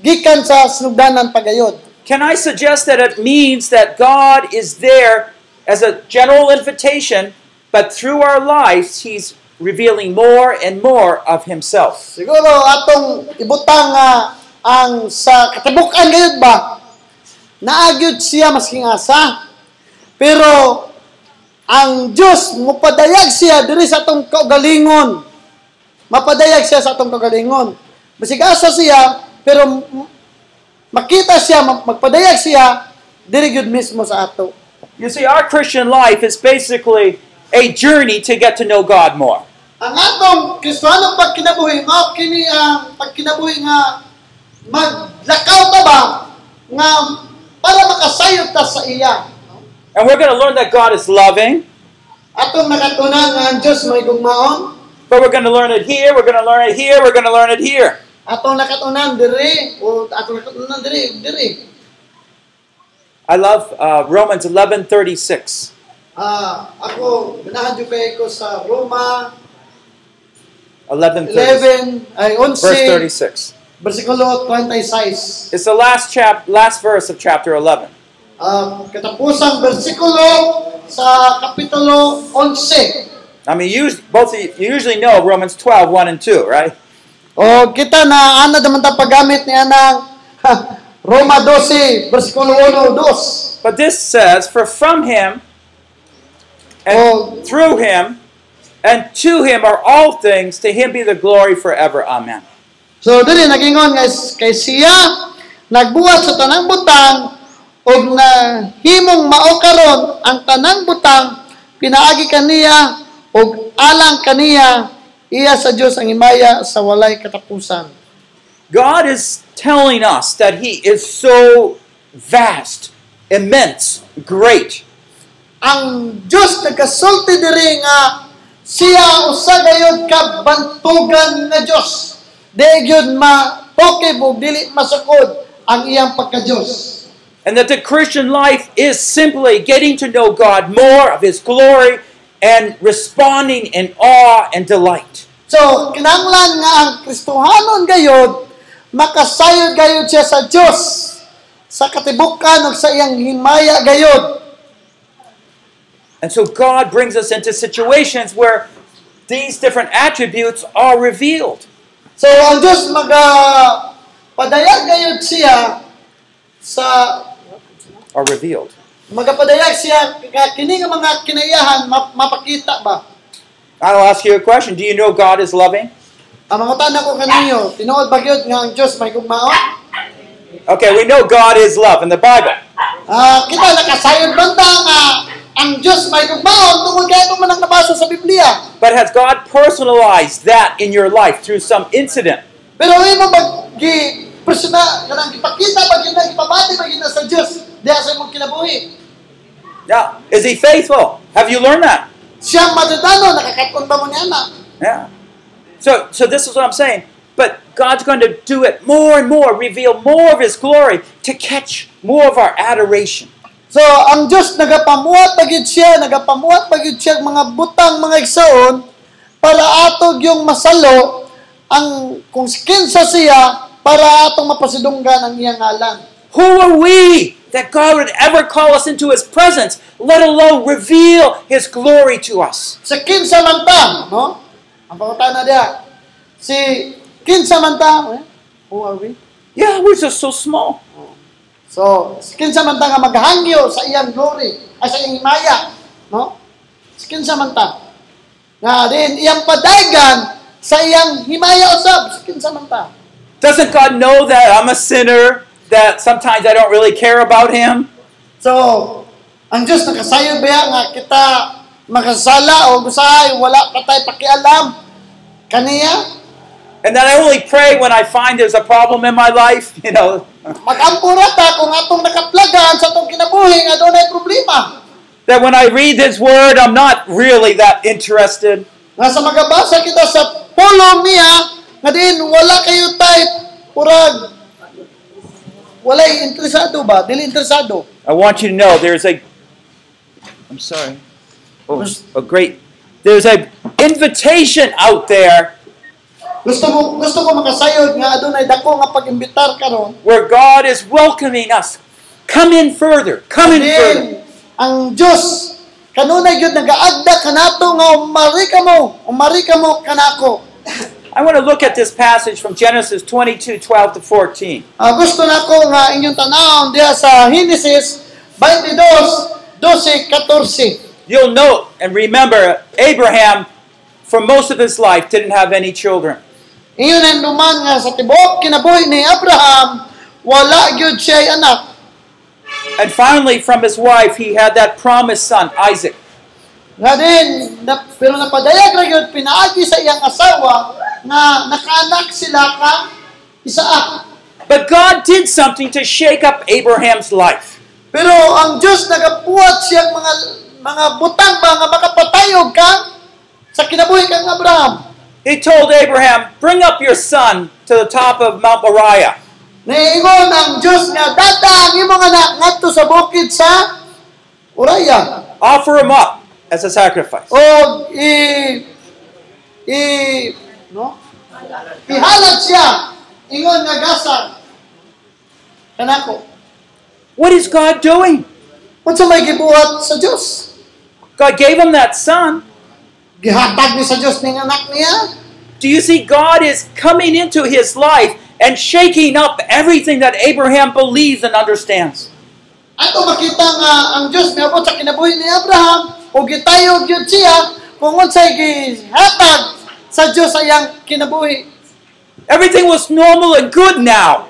[SPEAKER 2] gikan sa sugdanan pagayod.
[SPEAKER 4] Can I suggest that it means that God is there as a general invitation, but through our lives, He's revealing more and more of Himself?
[SPEAKER 2] Siguro atong ibutang nga ang sa katibukan gayod ba? Naagyod siya masking asa. Pero ang Dios mupadayag siya diri sa atong kaugalingon. Mapadayag siya sa atong kaugalingon. Masig asa siya pero m- makita siya ma- magpadayag siya diri gyud mismo sa ato.
[SPEAKER 4] You see, our Christian life is basically a journey to get to know God more.
[SPEAKER 2] Ang atong Kristiyano pagkinabuhi mao kini ang pagkinabuhi nga maglakaw ta ba nga para makasayod ta sa iya.
[SPEAKER 4] And we're going to learn that God is loving,
[SPEAKER 2] Atong nakatunan nga ang Dios may gugmaon,
[SPEAKER 4] but we're going to learn it here, we're going to learn it here, we're going to learn it here.
[SPEAKER 2] atong nakatunan diri o atong nakatunan diri diri.
[SPEAKER 4] I love uh, Romans 11 36.
[SPEAKER 2] Ah, ako ganahan jud kay ko sa Roma
[SPEAKER 4] 11
[SPEAKER 2] 11 ay
[SPEAKER 4] verse
[SPEAKER 2] 11
[SPEAKER 4] 36.
[SPEAKER 2] bersikulo 26.
[SPEAKER 4] It's the last chap, last verse of chapter 11.
[SPEAKER 2] Ah, katapusang bersikulo sa kapitulo 11.
[SPEAKER 4] I mean, you, both of you, you usually know Romans 12, 1 and 2, right?
[SPEAKER 2] O kita na ana daman ta paggamit niya ng Roma 12 bersikulo 1 2.
[SPEAKER 4] But this says, For from him, and
[SPEAKER 2] Oh.
[SPEAKER 4] through him, and to him are all things, to him be the glory forever. Amen.
[SPEAKER 2] So dili nagingon nga is- kay siya nagbuhat sa tanang butang ug na himong mao karon ang tanang butang pinaagi kaniya ug alang kaniya iya sa Dios ang himaya sa walay katapusan.
[SPEAKER 4] God is telling us that he is so vast, immense, great.
[SPEAKER 2] Ang Dios nagkasulti diri nga siya usa gayud ka bantugan nga Dios. Di gyud ma ug dili masukod ang iyang pagka-Dios.
[SPEAKER 4] And that the Christian life is simply getting to know God more of his glory and responding in awe and delight.
[SPEAKER 2] So, kinanglan nga ang Kristohanon gayod, makasayod gayod siya sa Dios sa katibukan ug sa iyang himaya gayod.
[SPEAKER 4] And so God brings us into situations where these different attributes are revealed.
[SPEAKER 2] So, ang Dios maga padayag gayod siya sa
[SPEAKER 4] Are revealed.
[SPEAKER 2] magapadayag siya nga kini nga mga kinaiyahan map- mapakita ba?
[SPEAKER 4] I'll ask you a question. Do you know God is loving?
[SPEAKER 2] Ang mga tanong ko kaninyo, tinuod ba gyud nga ang Dios may gugmaon?
[SPEAKER 4] Okay, we know God is love in the Bible.
[SPEAKER 2] Ah, kita nakasayod man ta nga ang Dios may gugmaon tungod kay ito man ang nabasa sa Biblia.
[SPEAKER 4] But has God personalized that in your life through some incident?
[SPEAKER 2] Pero imo pag gi personal kanang ipakita pag ina ipabati pag ina sa Dios diha sa imong kinabuhi.
[SPEAKER 4] Now, is he faithful? Have you learned that?
[SPEAKER 2] Siya madudano nakakatkon ba mo niya na?
[SPEAKER 4] Yeah. So, so this is what I'm saying. But God's going to do it more and more, reveal more of his glory to catch more of our adoration.
[SPEAKER 2] So ang Dios nagapamuhat pagid siya, nagapamuhat pagid siya ang mga butang mga igsoon para atog yung masalo ang kung kinsa siya para atong mapasidunggan ang iyang ngalan.
[SPEAKER 4] Who are we that God would ever call us into his presence, let alone reveal his glory to us?
[SPEAKER 2] sa kinsa man ta, no? Ang pangutana diha. Si kinsa man ta, eh? who are we?
[SPEAKER 4] Yeah, we're just so small.
[SPEAKER 2] So, kinsa man ta nga maghangyo sa iyang glory, ay sa iyang himaya, no? Kinsa man ta. Nga din iyang padagan sa iyang himaya usab, kinsa man ta.
[SPEAKER 4] Doesn't God know that I'm a sinner? that sometimes I don't really care about him.
[SPEAKER 2] So, ang Diyos nakasayod ba yan nga kita makasala o usahay, wala pa tayo pakialam kaniya?
[SPEAKER 4] And then I only pray when I find there's a problem in my life, you know.
[SPEAKER 2] Mag-ampura ta kung atong nakaplagan sa atong kinabuhi nga doon ay problema.
[SPEAKER 4] That when I read his word, I'm not really that interested.
[SPEAKER 2] Nga sa magabasa kita sa pulong niya, nga din wala kayo tayo kurag walay interesado ba? Dili interesado.
[SPEAKER 4] I want you to know there's a I'm sorry. Oh, a great there's a invitation out there
[SPEAKER 2] Gusto mo gusto ko makasayod nga adunay dako nga pag-imbitar karon.
[SPEAKER 4] where God is welcoming us. Come in further. Come in further.
[SPEAKER 2] Amen. Ang Diyos kanunay gyud nagaagda kanato nga umari ka mo, umari ka mo kanako.
[SPEAKER 4] I want to look at this passage from Genesis 22, 12 to 14.
[SPEAKER 2] Ah, gusto nako nga inyong tanawon diha sa Genesis 22 12 14.
[SPEAKER 4] You'll note and remember Abraham, for most of his life, didn't have any children.
[SPEAKER 2] Iyon ang duman nga sa tibuok kinabuhi ni Abraham wala gyud siya anak.
[SPEAKER 4] And finally, from his wife, he had that promised son, Isaac.
[SPEAKER 2] Nga din, na, pero napadayag ra gyud pinaagi sa iyang asawa nga nakaanak sila ka Isaak.
[SPEAKER 4] But God did something to shake up Abraham's life.
[SPEAKER 2] Pero ang Diyos nagapuat siyang mga mga butang ba nga makapatayog ka sa kinabuhi kang Abraham.
[SPEAKER 4] He told Abraham, Bring up your son to the top of Mount Moriah.
[SPEAKER 2] Niingon ang Diyos nga data ang imong anak ngadto sa bukid sa Uraya.
[SPEAKER 4] Offer him up as a sacrifice.
[SPEAKER 2] O i i no? Ihalad siya ingon nga gasag kanako.
[SPEAKER 4] What is God doing?
[SPEAKER 2] Unsa may gibuhat sa Diyos?
[SPEAKER 4] God gave him that son.
[SPEAKER 2] Gihatag ni sa Diyos ning anak niya.
[SPEAKER 4] Do you see, God is coming into his life and shaking up everything that Abraham believes and understands.
[SPEAKER 2] Ato makita nga ang Dios miabot sa kinabuhi ni Abraham ug gitayog gyud siya kung unsay gihatag sa Dios sa iyang kinabuhi.
[SPEAKER 4] Everything was normal and good now.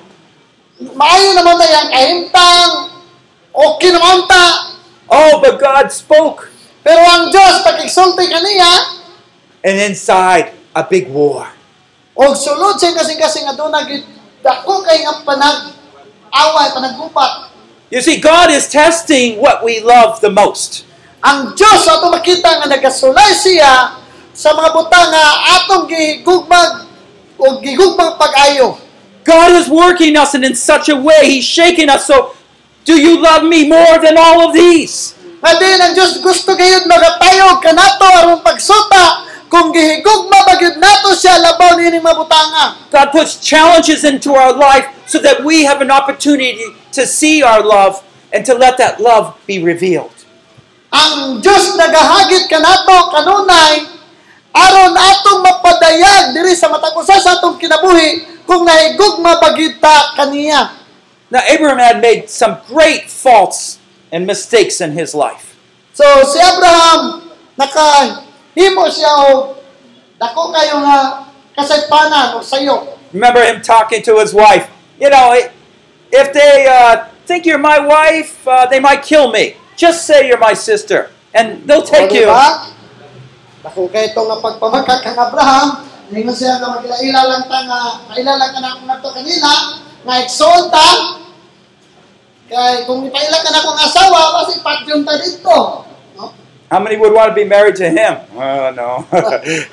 [SPEAKER 2] Maayo naman na iyang kahimtang okay naman ta.
[SPEAKER 4] Oh, but God spoke.
[SPEAKER 2] Pero ang Dios pagigsulti kaniya
[SPEAKER 4] And inside, a big war.
[SPEAKER 2] og sulod siya kasing-kasing aduna gyud dako kay nga panag away panaggubat.
[SPEAKER 4] You see, God is testing what we love the most.
[SPEAKER 2] Ang Dios ato makita nga nagasulay siya sa mga butang nga atong gigugmag og gigugmang pag-ayo.
[SPEAKER 4] God is working us and in such a way, He's shaking us. So, do you love me more than all of these?
[SPEAKER 2] Nga din ang Diyos gusto gayud magatayog kanato aron pagsuta kung gihigugma ba gyud nato siya labaw nining mabutanga.
[SPEAKER 4] God puts challenges into our life so that we have an opportunity to see our love and to let that love be revealed.
[SPEAKER 2] Ang Diyos nagahagit kanato kanunay aron atong mapadayag diri sa matag usa sa atong kinabuhi kung nahigugma ba gyud ta kaniya.
[SPEAKER 4] Now, Abraham had made some great faults and mistakes in his life.
[SPEAKER 2] So si Abraham nakahimo siya og dako kayo nga kasaypanan o sayo.
[SPEAKER 4] Remember him talking to his wife, you know, if they uh, think you're my wife, uh, they might kill me. Just say you're my sister, and they'll take
[SPEAKER 2] O,
[SPEAKER 4] you.
[SPEAKER 2] diba? Ako kay itong nga pagpamagkat kang Abraham, ningon siya nga magkaila lang ta nga, kailala ka na ako nato kanila, nga eksoon ta, kay kung ipaila ka na akong asawa, kasi patyon ta dito. No?
[SPEAKER 4] How many would want to be married to him? Oh, no.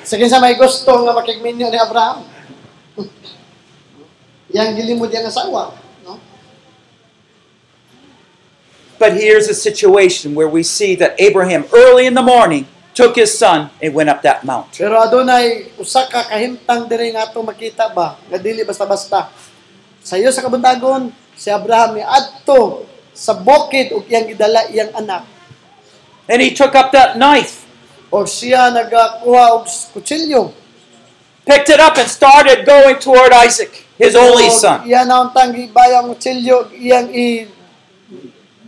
[SPEAKER 2] Sige sa may gusto nga makigminyo ni Abraham. Yang gilimod yan asawa. No?
[SPEAKER 4] but here's a situation where we see that Abraham, early in the morning, took his son and went up that mountain.
[SPEAKER 2] Pero adunay usa ka kahimtang diri nga ato makita ba nga dili basta-basta. Sayo sa kabuntagon si Abraham ni adto sa bukid ug iyang gidala iyang anak.
[SPEAKER 4] And he took up that knife,
[SPEAKER 2] O siya nagakuha og kutsilyo.
[SPEAKER 4] picked it up, and started going toward Isaac, his
[SPEAKER 2] Oh,
[SPEAKER 4] only son.
[SPEAKER 2] Iya na untang gibayang kutsilyo ug iyang i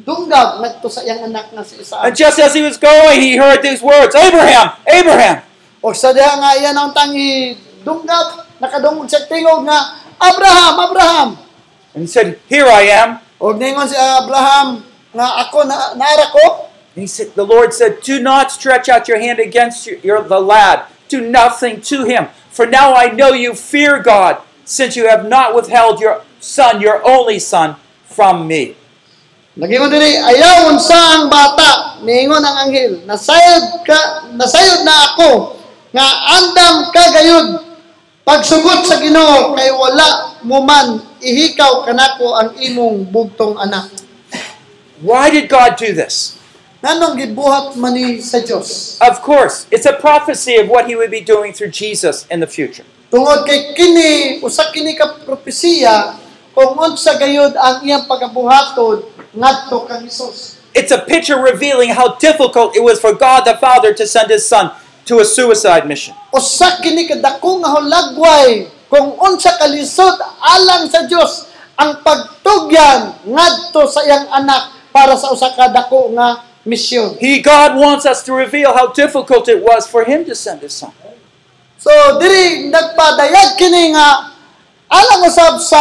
[SPEAKER 2] dunggag ngadto sa iyang anak nga si
[SPEAKER 4] And
[SPEAKER 2] Isaac.
[SPEAKER 4] just as he was going, he heard these words Abraham, Abraham.
[SPEAKER 2] O sa diha nga iya na untang i dunggag nakadungog siya tingog nga Abraham, Abraham.
[SPEAKER 4] And he said, Here I am.
[SPEAKER 2] Og ningon si Abraham nga ako na naara ko,
[SPEAKER 4] And he said, The Lord said, Do not stretch out your hand against your, your, the lad. Do nothing to him. For now I know you fear God, since you have not withheld your son, your only son, from me.
[SPEAKER 2] Nagingon diri, ayaw unsa ang bata, niingon ang anghel, nasayod ka, nasayod na ako, nga andam ka gayud, pagsugot sa Ginoo kay wala mo man ihikaw kanako ang imong bugtong anak.
[SPEAKER 4] Why did God do this?
[SPEAKER 2] Nanong gibuhat man ni sa Dios?
[SPEAKER 4] Of course, it's a prophecy of what he would be doing through Jesus in the future.
[SPEAKER 2] Tungod kay kini usa kini ka propesiya kung unsa gayud ang iyang pagabuhaton ngadto kang Hesus.
[SPEAKER 4] It's a picture revealing how difficult it was for God the Father to send his son to a suicide mission.
[SPEAKER 2] Usa kini kadako nga hulagway kung unsa kalisod alang sa Dios ang pagtugyan ngadto sa iyang anak para sa usa ka dako nga misyon.
[SPEAKER 4] He, God wants us to reveal how difficult it was for him to send his son.
[SPEAKER 2] So diri nagpadayag kini nga alang usab sa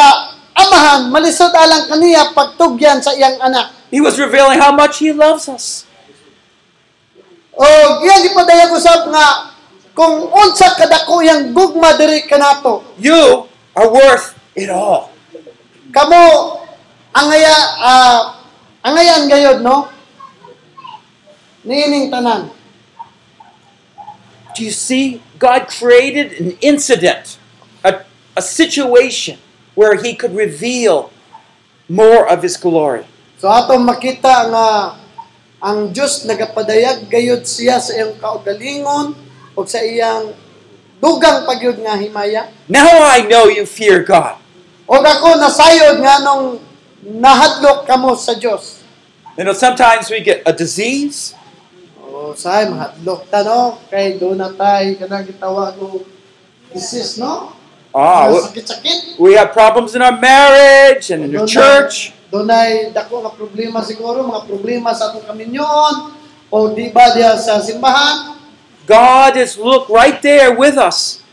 [SPEAKER 2] amahan malisod alang kaniya pagtugyan sa iyang anak.
[SPEAKER 4] He was revealing how much he loves us.
[SPEAKER 2] O iya gipadayag usab nga kung unsa kadako yang gugma diri kanato.
[SPEAKER 4] You are worth it all.
[SPEAKER 2] Kamo angaya uh, angayan gayod no? Niining tanan.
[SPEAKER 4] Do you see? God created an incident, a, a situation where he could reveal more of his glory.
[SPEAKER 2] So atong makita nga ang Dios nagapadayag gayod siya sa iyang kaugalingon o sa iyang dugang pagyud nga himaya.
[SPEAKER 4] Now I know you fear God.
[SPEAKER 2] O ako nasayod nga nung nahadlok kamo sa Dios.
[SPEAKER 4] You know, sometimes we get a disease,
[SPEAKER 2] O say mahadlok ta no kay do na tay kanang gitawag og disease no?
[SPEAKER 4] ah,
[SPEAKER 2] Nga
[SPEAKER 4] we-
[SPEAKER 2] sakit-sakit.
[SPEAKER 4] we have problems in our marriage and in the
[SPEAKER 2] Doon
[SPEAKER 4] church.
[SPEAKER 2] na- Doon ay dako nga problema siguro, mga problema sa atong kaminyoon o di ba diya sa simbahan
[SPEAKER 4] God is look right there with us.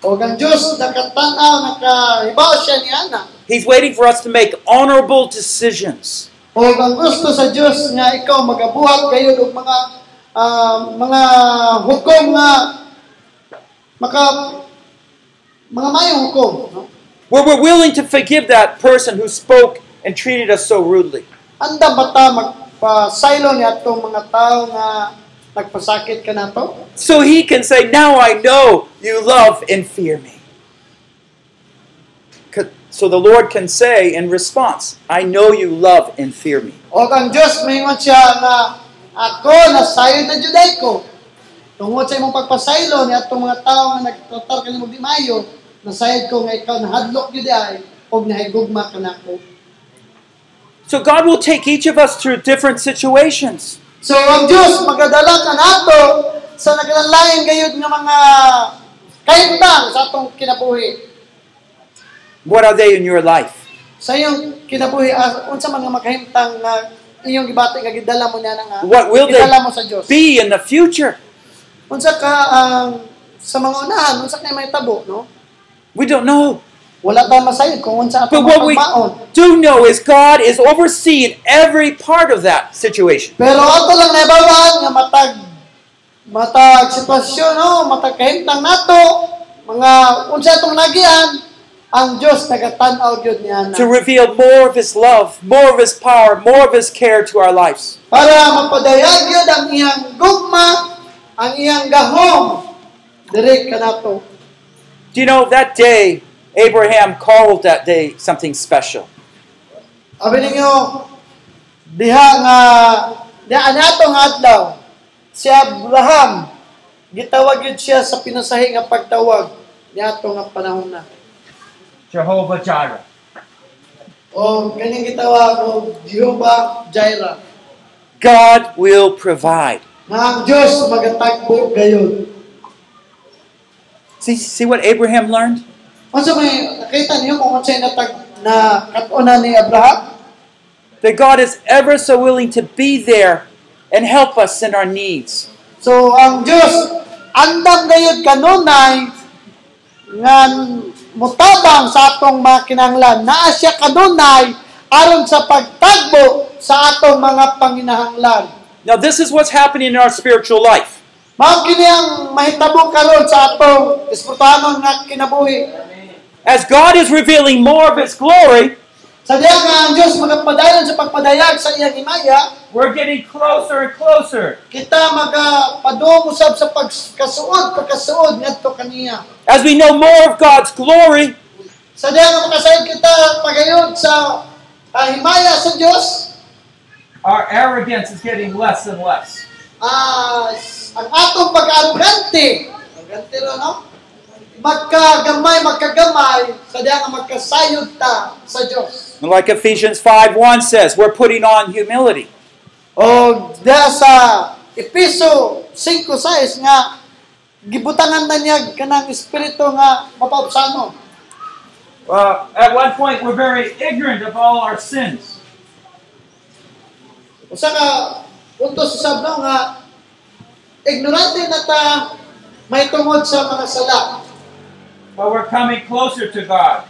[SPEAKER 2] o ang Diyos nakatanaw, nakahibaw siya ni Ana.
[SPEAKER 4] He's waiting for us to make honorable decisions.
[SPEAKER 2] O ang gusto sa Diyos nga ikaw magabuhat kayo og mga ah, mga hukom nga maka mga mayong hukom. No?
[SPEAKER 4] Where we're willing to forgive that person who spoke and treated us so rudely.
[SPEAKER 2] Anda ba ta magpasaylo ni atong mga tao nga nagpasakit ka na to?
[SPEAKER 4] So he can say, Now I know you love and fear me. C- So the Lord can say in response, I know you love and fear me.
[SPEAKER 2] O ang Diyos, mahingon siya na ako, nasayod na Juday ko. Tungod sa imong pagpasaylo ni atong mga tao nga nagtatar ka mo mayo, nasayod ko nga ikaw nahadlok Juday, o nahigugma ka na ako.
[SPEAKER 4] So God will take each of us through different situations.
[SPEAKER 2] So ang Diyos, magadala ka nato sa nagalalain gayud nga mga kaitang sa atong kinabuhi.
[SPEAKER 4] What are they in your life?
[SPEAKER 2] Sa iyong kinabuhi, ah, unsa man nga makahimtang nga iyong gibati nga gidala mo niya na nga
[SPEAKER 4] What will they
[SPEAKER 2] gidala mo sa Diyos.
[SPEAKER 4] be in the future?
[SPEAKER 2] Unsa ka ang sa mga unahan, unsa kay may tabo, no?
[SPEAKER 4] We don't know.
[SPEAKER 2] Wala tayong masayod kung unsa
[SPEAKER 4] But
[SPEAKER 2] atong
[SPEAKER 4] what we
[SPEAKER 2] pagmaon.
[SPEAKER 4] do know is God is overseeing every part of that situation.
[SPEAKER 2] Pero ato lang naibawaan nga matag matag sitwasyon no, matag kahintang nato mga unsa atong lagian ang Dios nagatan-aw gyud niya
[SPEAKER 4] To
[SPEAKER 2] na
[SPEAKER 4] reveal more of His love, more of His power, more of His care to our lives.
[SPEAKER 2] para mapadayag gyud ang iyang gugma, ang iyang gahom diri kanato.
[SPEAKER 4] Do you know that day, Abraham called that day something special?
[SPEAKER 2] Abi ninyo diha nga diha nato nga adlaw si Abraham gitawag yun siya sa pinasahi nga pagtawag niato nga panahon na.
[SPEAKER 5] Jehovah Jireh.
[SPEAKER 2] O kaning gitawag og Jehovah Jireh.
[SPEAKER 4] God will provide.
[SPEAKER 2] Nga ang Dios magatagbo gayon.
[SPEAKER 4] See, see what Abraham learned?
[SPEAKER 2] Unsa may nakita niyo kung unsay natag na katunan ni Abraham?
[SPEAKER 4] That God is ever so willing to be there and help us in our needs.
[SPEAKER 2] So ang Dios andam gayud kanunay nga mutabang sa atong mga kinanglan naa siya kanunay aron sa pagtagbo sa atong mga panginahanglan.
[SPEAKER 4] Now, this is what's happening in our spiritual life.
[SPEAKER 2] Mao kini ang mahitabo karon sa atong espirituhanon nga kinabuhi.
[SPEAKER 4] As God is revealing more of His glory,
[SPEAKER 2] Sa diya nga ang Dios magapadayon sa pagpadayag sa iyang himaya,
[SPEAKER 5] We're getting closer and closer.
[SPEAKER 2] kita magapadung usab sa pagkasuod, pagkasuod ngadto kaniya.
[SPEAKER 4] as we know more of God's glory,
[SPEAKER 2] Sa diya nga makasayod kita pagayod sa ah, himaya sa Dios,
[SPEAKER 5] Our arrogance is getting less and less.
[SPEAKER 2] ah, ang atong pag-arrogante, arrogante ro, no? Magkagamay, magkagamay, sa diya nga magkasayod ta sa Dios.
[SPEAKER 4] and like Ephesians 5 1 says, we're putting on humility.
[SPEAKER 2] O diya sa Episo 5.6 nga, gibutangan na niya kanang espiritu nga mapaupsano.
[SPEAKER 5] Uh, at one point, we're very ignorant of all our sins.
[SPEAKER 2] Usa ka, punto sa sabno nga, ignorante na ta may tungod sa mga sala.
[SPEAKER 5] But we're coming closer to God.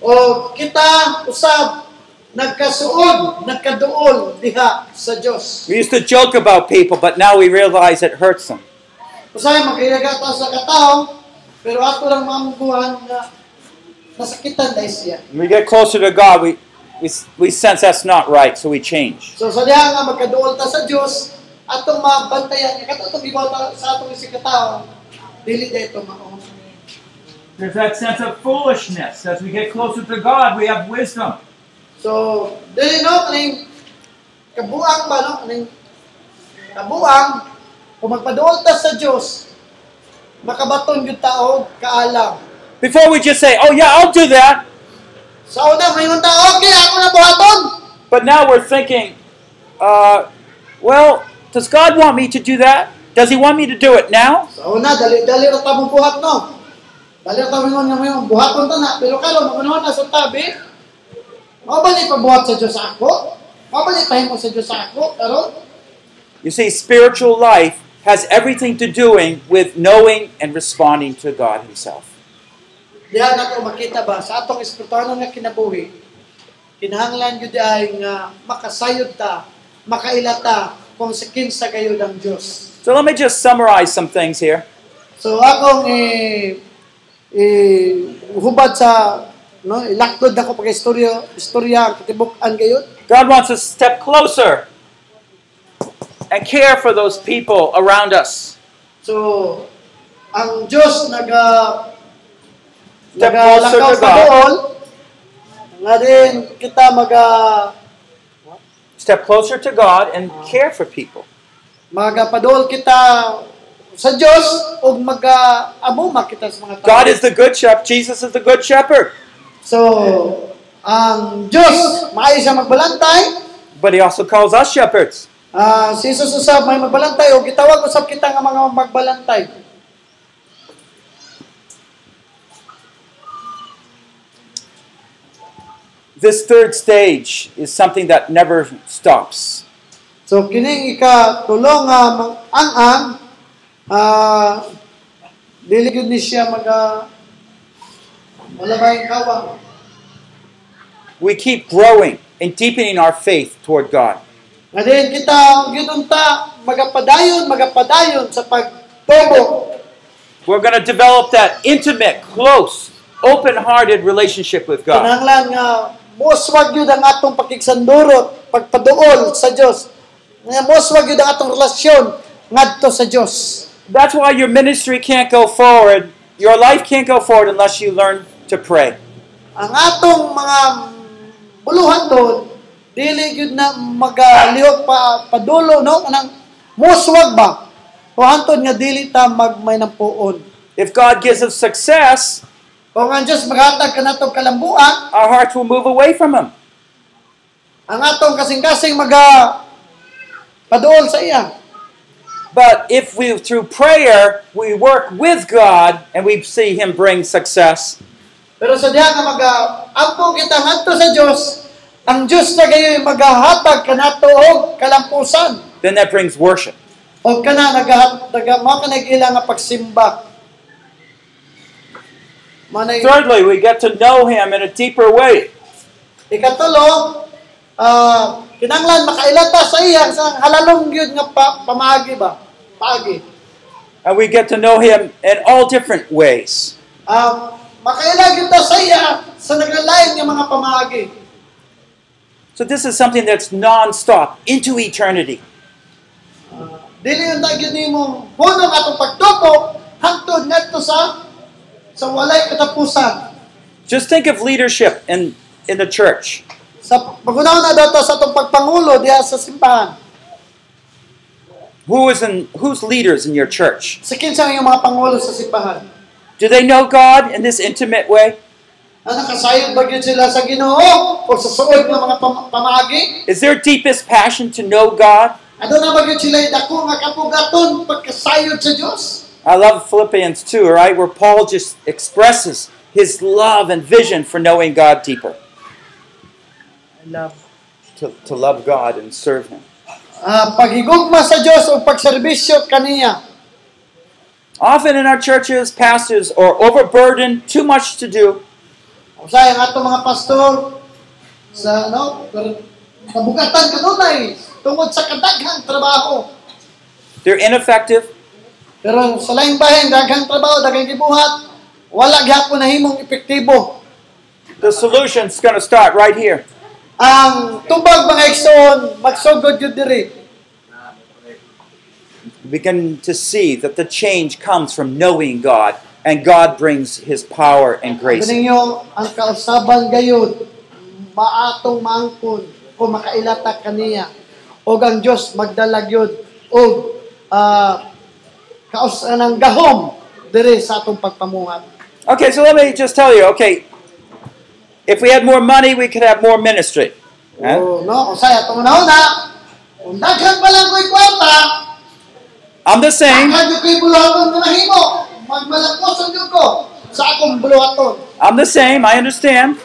[SPEAKER 2] O kita, usab, nagkasuod, nagkaduol diha sa Dios.
[SPEAKER 4] We used to joke about people, but now we realize it hurts them.
[SPEAKER 2] Usay maghilaga ta sa katao, pero ato lang maamguhan nga nasakitan dahil siya.
[SPEAKER 4] When we get closer to God, we, we, we sense that's not right, so we change.
[SPEAKER 2] So sa diha nga magkaduol ta sa Dios atong mabantayan nga kato atong ibaw ta sa atong isig katao dili dayto mao.
[SPEAKER 5] There's that sense of foolishness. As we get closer to God, we have wisdom.
[SPEAKER 2] So dili no kaning kabuang ba no kaning kabuang kung magpaduol ta sa Dios makabaton gyud taog kaalam.
[SPEAKER 4] Before we just say, oh, yeah, I'll do that,
[SPEAKER 2] Sa una mayon ta okay ako na buhaton.
[SPEAKER 4] but now we're thinking, uh, well, does God want me to do that? Does He want me to do it now?
[SPEAKER 2] Sa una dali dali ra ta mong buhat no. Dali ra ta mingon nga mayon buhaton ta na pero karon magunahon na sa tabi. Mabalik pa buhat sa Dios ako. Mabalik tayo mo sa Dios ako karon.
[SPEAKER 4] You see, spiritual life has everything to doing with knowing and responding to God Himself.
[SPEAKER 2] Diha nato makita ba sa atong espirituhanon nga kinabuhi. Kinahanglan gyud ay nga makasayod ta, makailata kung sa kinsa kayo ng Dios.
[SPEAKER 4] So let me just summarize some things here.
[SPEAKER 2] So akong eh, eh, hubad sa no ilaktod ako pag istorya istorya ang kitibok-an gayud
[SPEAKER 4] God wants us to step closer and care for those people around us.
[SPEAKER 2] So, ang Diyos naga
[SPEAKER 4] Step
[SPEAKER 2] nagalakaw
[SPEAKER 4] closer diba? to
[SPEAKER 2] sa
[SPEAKER 4] God.
[SPEAKER 2] dool, nga din kita maga
[SPEAKER 4] Step closer to God and care for people.
[SPEAKER 2] magapadool kita sa Diyos o maga amuma kita sa mga tao.
[SPEAKER 4] God is the good shepherd. Jesus is the good shepherd.
[SPEAKER 2] so, ang Diyos, maayo siya magbalantay.
[SPEAKER 4] But he also calls us shepherds.
[SPEAKER 2] Ah, si Jesus usab may magbalantay o gitawag usab kita nga mga magbalantay.
[SPEAKER 4] This third stage is something that never stops.
[SPEAKER 2] So kining ika tulong nga mang- ang ang ah dili gud ni siya maga wala ba yung kawa.
[SPEAKER 4] We keep growing and deepening our faith toward God.
[SPEAKER 2] Nga din kita gidunta magapadayon magapadayon sa pagtubo.
[SPEAKER 4] We're going to develop that intimate, close, open hearted relationship with God.
[SPEAKER 2] Kinahanglan nga moswag gyud ang atong pakigsandurot pagpaduol sa Dios. Nga moswag gyud ang atong relasyon ngadto sa Dios.
[SPEAKER 4] That's why your ministry can't go forward. Your life can't go forward unless you learn to pray.
[SPEAKER 2] ang atong mga buluhan doon, dili gyud na magalihok pa padulo no kanang muswag ba o hantod nga dili ta magmay ng puon
[SPEAKER 4] If God gives us success,
[SPEAKER 2] kung ang Dios maghatag kanato kalambuan
[SPEAKER 4] our hearts will move away from Him.
[SPEAKER 2] ang atong kasing-kasing maga paduol sa iya
[SPEAKER 4] But if we, through prayer, we work with God and we see Him bring success,
[SPEAKER 2] pero sa diha nga maga ampo kita ngadto sa Dios ang Dios na gayoy magahatag kanato og kalampusan
[SPEAKER 4] then that brings worship.
[SPEAKER 2] o kana nagahat naga mao ka nagila nga pagsimba Manay,
[SPEAKER 4] Thirdly, we get to know Him in a deeper way.
[SPEAKER 2] ikatulo, ah, kinanglan makailata sa iya sa halalong yun nga pa, pamaagi ba? Paagi.
[SPEAKER 4] And we get to know Him in all different ways.
[SPEAKER 2] Ah, makaila kita sa iya sa nagalain nga mga pamaagi.
[SPEAKER 4] So this is something that's non-stop into eternity.
[SPEAKER 2] Dili yung tagyo ni mo, hunong atong pagtuto, hangtod ngadto sa sa walay katapusan.
[SPEAKER 4] Just think of leadership in, in the church.
[SPEAKER 2] Sa pagunaw na daw to sa atong pagpangulo diha sa simbahan.
[SPEAKER 4] Who is in who's leaders in your church?
[SPEAKER 2] Sa kinsa yung mga pangulo sa simbahan.
[SPEAKER 4] Do they know God in this intimate way?
[SPEAKER 2] Na Ano, nakasayod ba gyud sila sa Ginoo o sa suod nga mga pam- pamaagi?
[SPEAKER 4] Is their deepest passion to know God?
[SPEAKER 2] Ano na ba gyud sila dako nga kapugaton pagkasayod sa Dios?
[SPEAKER 4] I love Philippians 2, all right, where Paul just expresses his love and vision for knowing God deeper. To, to love God and serve Him.
[SPEAKER 2] Ah, paghigugma sa Dios o pagserbisyo kaniya.
[SPEAKER 4] Often in our churches, pastors are overburdened, too much to do,
[SPEAKER 2] Usay ang ato mga pastor sa no, pero kabugatan kanunay tungod sa kadaghang trabaho.
[SPEAKER 4] they're ineffective,
[SPEAKER 2] Pero sa laing bahin daghang trabaho, daghang gibuhat, wala gyapon nahimong epektibo.
[SPEAKER 4] the solution's going to start right here.
[SPEAKER 2] Ang tubag mga igsoon magsugod gyud diri.
[SPEAKER 4] We begin to see that the change comes from knowing God, and God brings His power and grace.
[SPEAKER 2] Kaninyo ang kausaban gayud maatong mangkon kung makailata kaniya o ang Dios magdala gyud og ah, kaos ng gahom diri sa atong pagpamuhat.
[SPEAKER 4] Okay, so let me just tell you. Okay, if we had more money, we could have more ministry. Huh?
[SPEAKER 2] O Oh, no, usay atong una kung daghan pa lang ko'y kwarta,
[SPEAKER 4] I'm the same.
[SPEAKER 2] daghan yung ko'y buluhaton na nahimo, magmalakos ang Diyos ko sa akong buluhaton.
[SPEAKER 4] I'm the same. I understand.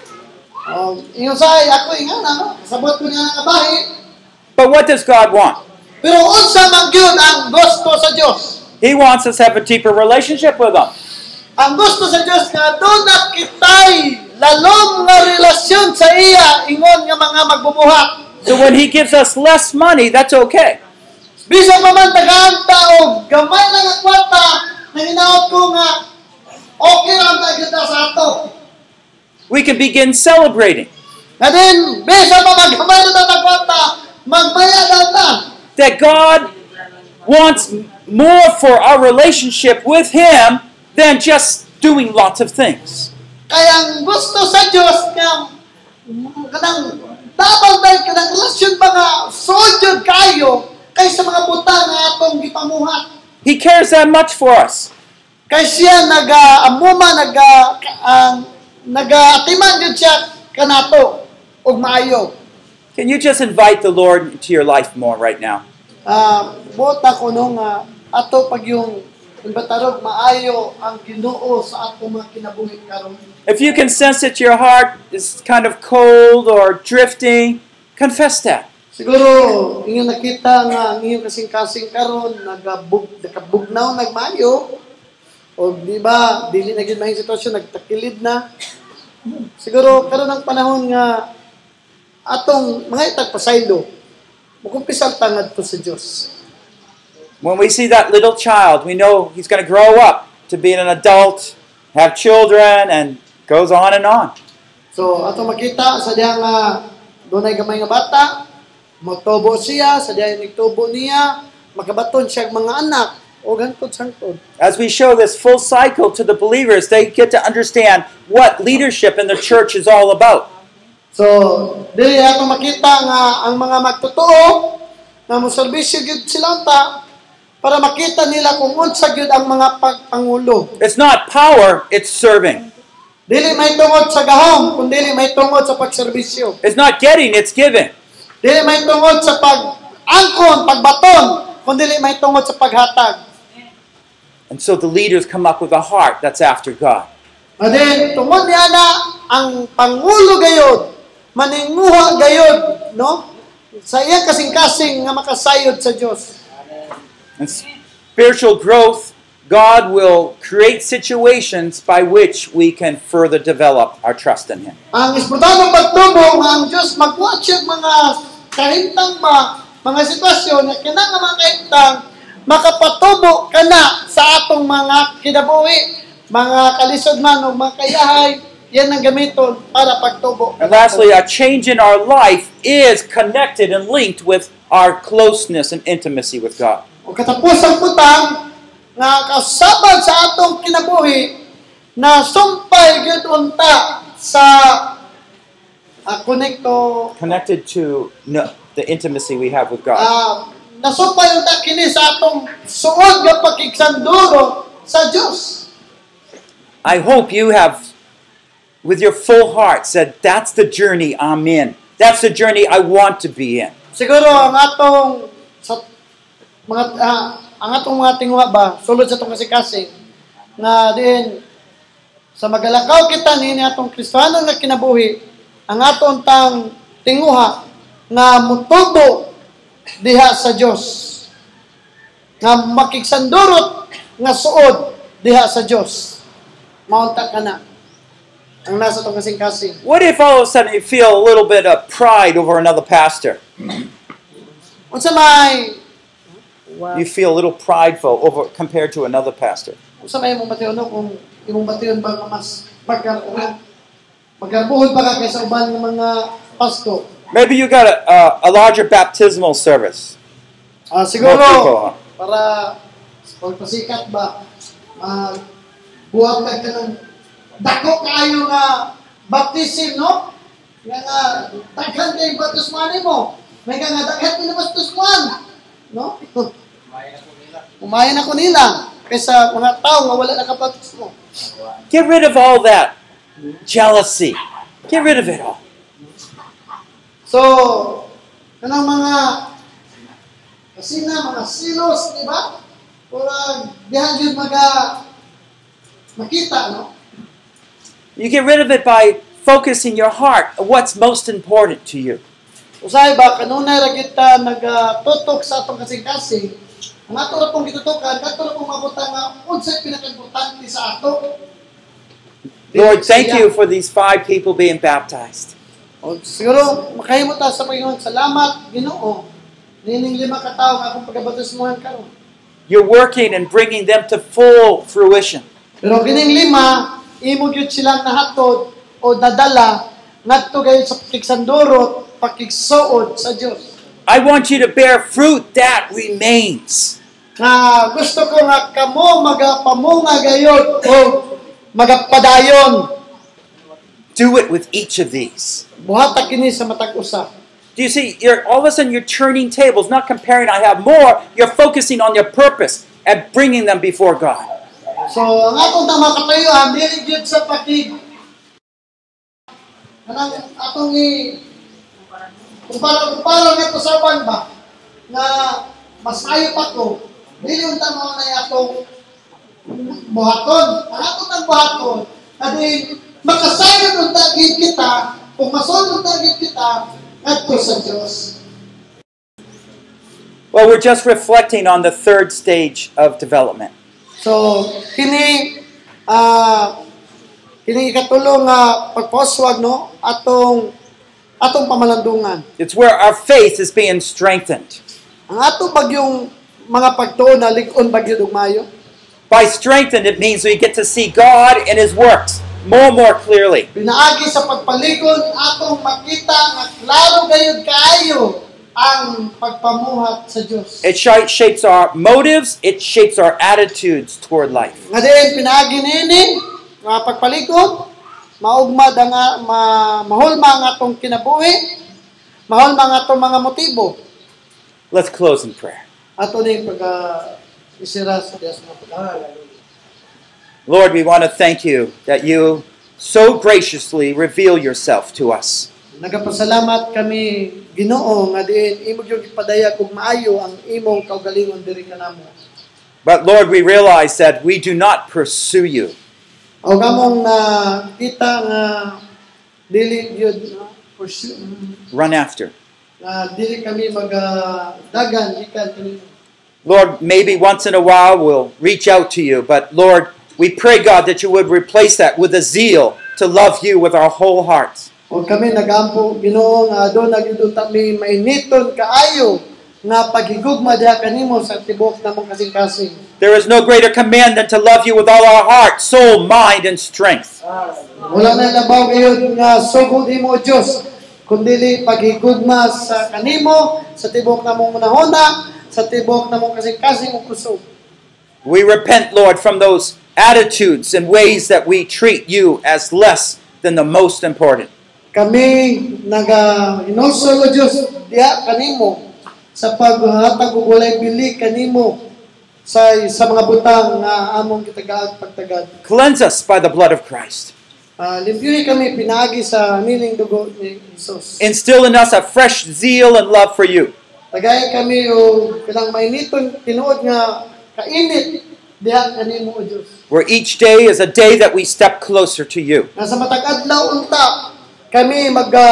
[SPEAKER 2] Um, ingon say, ako nga na, sabot ko nga nga bahi,
[SPEAKER 4] But what does God want?
[SPEAKER 2] pero unsa man gyud ang gusto sa Dios?
[SPEAKER 4] He wants us to have a deeper relationship with Him.
[SPEAKER 2] Ang gusto sa Dios nga doon na kitay lalong nga relasyon sa iya ingon nga mga magbubuhat.
[SPEAKER 4] So when He gives us less money, that's okay.
[SPEAKER 2] Bisan pa man tagaan taog gamay lang ang kwarta nanginaot ko nga okay ra ta gyud sa ato.
[SPEAKER 4] We can begin celebrating
[SPEAKER 2] Nga din bisan pa man gamay ra ta ang kwarta magmaya daw ta.
[SPEAKER 4] that God wants more for our relationship with Him than just doing lots of things.
[SPEAKER 2] Kaya ang gusto sa Dios nga kanang dabal dahil kanang relasyon pa nga sold kayo kaysa mga butang nga atong gipamuhat.
[SPEAKER 4] He cares that much for us.
[SPEAKER 2] Kay siya naga-amuma, naga, ang naga-atiman yun siya kanato, ug maayo.
[SPEAKER 4] Can you just invite the Lord into your life more right now?
[SPEAKER 2] Ah, bota ko nung ah, ato pag yung imbatarog maayo ang ginoo sa ato mga kinabuhi karon.
[SPEAKER 4] If you can sense that your heart is kind of cold or drifting, confess that.
[SPEAKER 2] Siguro, inyo nakita nga ang inyong kasing-kasing karon nagabug, nakabugnaw, nagmayo. O di ba, dili na gid mahing sitwasyon, nagtakilid na. Siguro, karon ang panahon nga atong mga itag pasaylo, mukumpisar tangad po sa Dios.
[SPEAKER 4] When we see that little child, we know he's going to grow up to be an adult, have children, and goes on and on.
[SPEAKER 2] So, atong makita sa diha nga dunay gamay nga bata, motobo siya, sa diha nigtubo niya, makabaton siya ang mga anak, o hangtod-sangtod.
[SPEAKER 4] As we show this full cycle to the believers, they get to understand what leadership in the church is all about.
[SPEAKER 2] So, dili ato makita nga ang mga magtotoo nga moserbisyo gyud sila ta para makita nila kung unsa gyud ang mga pagpangulo.
[SPEAKER 4] It's not power, it's serving.
[SPEAKER 2] Dili may tungod sa gahom, kun dili may tungod sa pagserbisyo.
[SPEAKER 4] It's not getting, it's giving.
[SPEAKER 2] Dili may tungod sa pag-angkon, pagbaton, kun dili may tungod sa paghatag.
[SPEAKER 4] And so the leaders come up with a heart that's after God.
[SPEAKER 2] And then, tungod niya na ang pangulo gayod, maninguha gayod, no? Sa iya kasing-kasing nga makasayod sa Dios.
[SPEAKER 4] And spiritual growth God will create situations by which we can further develop our trust in Him.
[SPEAKER 2] Ang isbutado pagtubo nga ang Diyos magwatch siya mga kahintang ba, mga sitwasyon na kinang mga kahintang makapatubo ka na sa atong mga kinabuhi, mga kalisod man o mga kayahay, yan ang gamiton para pagtubo.
[SPEAKER 4] And lastly, a change in our life is connected and linked with our closeness and intimacy with God.
[SPEAKER 2] o katapos ang putang nga kasabag sa atong kinabuhi na sumpay gyud unta sa uh, konekto
[SPEAKER 4] Connected to no, the intimacy we have with God.
[SPEAKER 2] ah nasupay unta kini sa atong suod nga pakigsanduro sa Dios.
[SPEAKER 4] I hope you have, with your full heart, said, That's the journey I'm in. That's the journey I want to be in.
[SPEAKER 2] Siguro ang atong sa mga ah, ang atong mga tingwa ba sulod sa atong kasing na din sa magalakaw kita ni atong Kristiyano nga kinabuhi ang atong tang tinguha nga mutubo diha sa Dios nga makigsandurot nga suod diha sa Dios maunta ka na ang nasa tong kasing kasing
[SPEAKER 4] What if all of a sudden you feel a little bit of pride over another pastor?
[SPEAKER 2] unsa may
[SPEAKER 4] You feel a little prideful over compared to another pastor.
[SPEAKER 2] Usa may imong batiyon no kung imong batiyon ba nga mas pagka pagkabuhod pa ka kaysa uban ng mga pasto.
[SPEAKER 4] Maybe you got a, a, a larger baptismal service. More
[SPEAKER 2] Ah
[SPEAKER 4] people,
[SPEAKER 2] siguro
[SPEAKER 4] huh?
[SPEAKER 2] para pagpasikat ba mag buhat ka kanang dako kayo nga baptism no nga nga daghan kay batisman mo may ka nga daghan kay batisman no Umayan ako nila kaysa mga tao nga wala nakapatismo.
[SPEAKER 4] Get rid of all that jealousy. Get rid of it all.
[SPEAKER 2] So, kanang mga kasina, mga silos, di ba? Para dihan yun maga makita, no?
[SPEAKER 4] You get rid of it by focusing your heart on what's most important to you.
[SPEAKER 2] Usay ba, kanunay ra kita nagatutok sa atong kasing-kasing, ang ato ra pong gitutukan, ato ra pong mabuta nga, unsay pinaka-importante sa ato.
[SPEAKER 4] Lord, thank you for these five people being baptized.
[SPEAKER 2] O, siguro, makahimo ta sa Panginoon, salamat, ginoo. Nining lima ka tao nga akong pagkabatismuhan karon.
[SPEAKER 4] You're working and bringing them to full fruition.
[SPEAKER 2] Pero kining lima, imo gyud sila nahatod o dadala ngadto gayud sa pakigsandurot, pakigsuod sa Dios.
[SPEAKER 4] I want you to bear fruit that remains.
[SPEAKER 2] Nga gusto ko nga kamo magapamunga gayud o magapadayon
[SPEAKER 4] Do it with each of these.
[SPEAKER 2] buhata kini sa matag usa.
[SPEAKER 4] Do you see? You're all of a sudden you're turning tables, not comparing. I have more. You're focusing on your purpose and bringing them before God.
[SPEAKER 2] So ang atong tama katayuan dili gyud ah, sa pakig Anang atong i kumpara kumpara nga sa uban ba na mas ayo pa ko dili unta mao na atong buhaton ang atong tang buhaton adi makasayod unta gyud kita kung masulod unta gyud kita adto sa Dios
[SPEAKER 4] Well, we're just reflecting on the third stage of development.
[SPEAKER 2] So, kini ah kini ikatulong nga pagposwag no atong atong pamalandungan.
[SPEAKER 4] It's where our faith is being strengthened.
[SPEAKER 2] Ang ato bagyong mga pagtuon na lig-on bagyo dugmayo.
[SPEAKER 4] By strengthened, it means we get to see God and His works more and more clearly.
[SPEAKER 2] Pinaagi sa pagpalikod atong makita nga klaro gayud kaayo ang pagpamuhat sa Dios.
[SPEAKER 4] It shi- shapes our motives, it shapes our attitudes toward life.
[SPEAKER 2] Nga din pinaagi nini nga pagpalikod maugmad ang ah, ma, mahulma ang atong kinabuhi, mahulma ang atong mga motibo.
[SPEAKER 4] Let's close in prayer.
[SPEAKER 2] Ato na yung pag uh, isira sa Diyos ng pagkakalala.
[SPEAKER 4] Lord, we want to thank you that you so graciously reveal yourself to us.
[SPEAKER 2] Nagapasalamat kami Ginoo nga diin imo gyud ipadaya kung maayo ang imong kaugalingon diri kanamo.
[SPEAKER 4] But Lord, we realize that we do not pursue you.
[SPEAKER 2] O gamong na kita nga dili gyud uh, pursue,
[SPEAKER 4] Run after.
[SPEAKER 2] nga dili kami magdagan uh, ikan kanimo.
[SPEAKER 4] Lord, maybe once in a while we'll reach out to you, but Lord, we pray, God, that you would replace that with a zeal to love you with our whole hearts.
[SPEAKER 2] O kami nagampo Ginoo nga aduna gyud kami mainiton kaayo nga paghigugma diha kanimo sa tibok namong kasing-kasing.
[SPEAKER 4] There is no greater command than to love you with all our heart, soul, mind, and strength.
[SPEAKER 2] Wala na labaw ngayon nga sugod imo Dios kundili paghigugma sa kanimo sa tibok namong unahuna sa tibok namong kasing-kasing ug kusog.
[SPEAKER 4] We repent, Lord, from those attitudes and ways that we treat you as less than the most important.
[SPEAKER 2] Kami naga inusol o Dios diha kanimo sa paghatag og walay bili kanimo sa sa mga butang nga among gitagaad pagtagad.
[SPEAKER 4] Cleanse us by the blood of Christ.
[SPEAKER 2] Uh, Limpyuhi kami pinagi sa niling dugo ni Jesus.
[SPEAKER 4] Instill in us a fresh zeal and love for you.
[SPEAKER 2] Tagay kami o kilang mainiton tinuod nga kainit diha kanimo o Dios.
[SPEAKER 4] Where each day is a day that we step closer to you.
[SPEAKER 2] Nga sa matag adlaw unta kami maga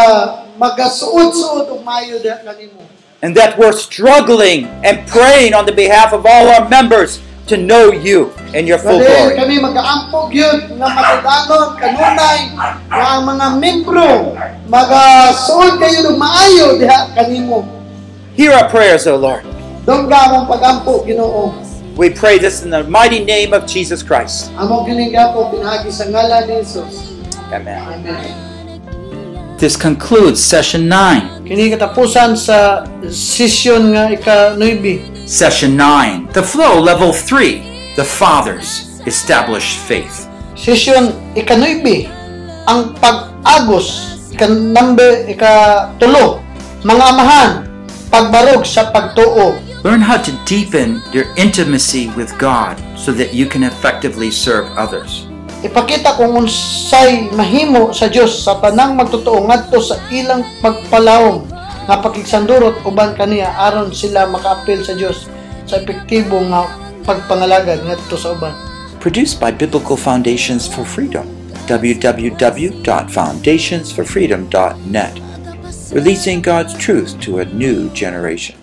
[SPEAKER 2] magasuod-suod og mayo diha kanimo.
[SPEAKER 4] And that we're struggling and praying on the behalf of all our members to know you in your full
[SPEAKER 2] Dali
[SPEAKER 4] glory.
[SPEAKER 2] kami magaampog yun nga matadanon kanunay nga ang mga membro magasuod kayo ng maayo diha kanimo.
[SPEAKER 4] Hear our prayers, O Lord.
[SPEAKER 2] Doon ka among pagampo Ginoo.
[SPEAKER 4] We pray this in the mighty name of Jesus Christ.
[SPEAKER 2] Among gininga po pinagi sa ngalan ni Jesus.
[SPEAKER 4] Amen.
[SPEAKER 2] Amen.
[SPEAKER 3] This concludes session 9.
[SPEAKER 2] Kini katapusan sa session nga ika 9.
[SPEAKER 3] Session 9, the flow level 3, the Father's established faith.
[SPEAKER 2] Session ika 9. Ang pag-agos ika number ika 3. Mga amahan pagbarog sa pagtuo.
[SPEAKER 3] Learn how to deepen your intimacy with God so that you can effectively serve others.
[SPEAKER 2] Ipakita kung unsay mahimo sa Dios sa tanang magtotoo ngadto sa ilang pagpalawom nga pakigsandurot uban kaniya aron sila makaapil sa Dios sa epektibo nga pagpangalagad ngadto sa uban.
[SPEAKER 3] Produced by Biblical Foundations for Freedom, www.foundationsforfreedom.net, releasing God's truth to a new generation.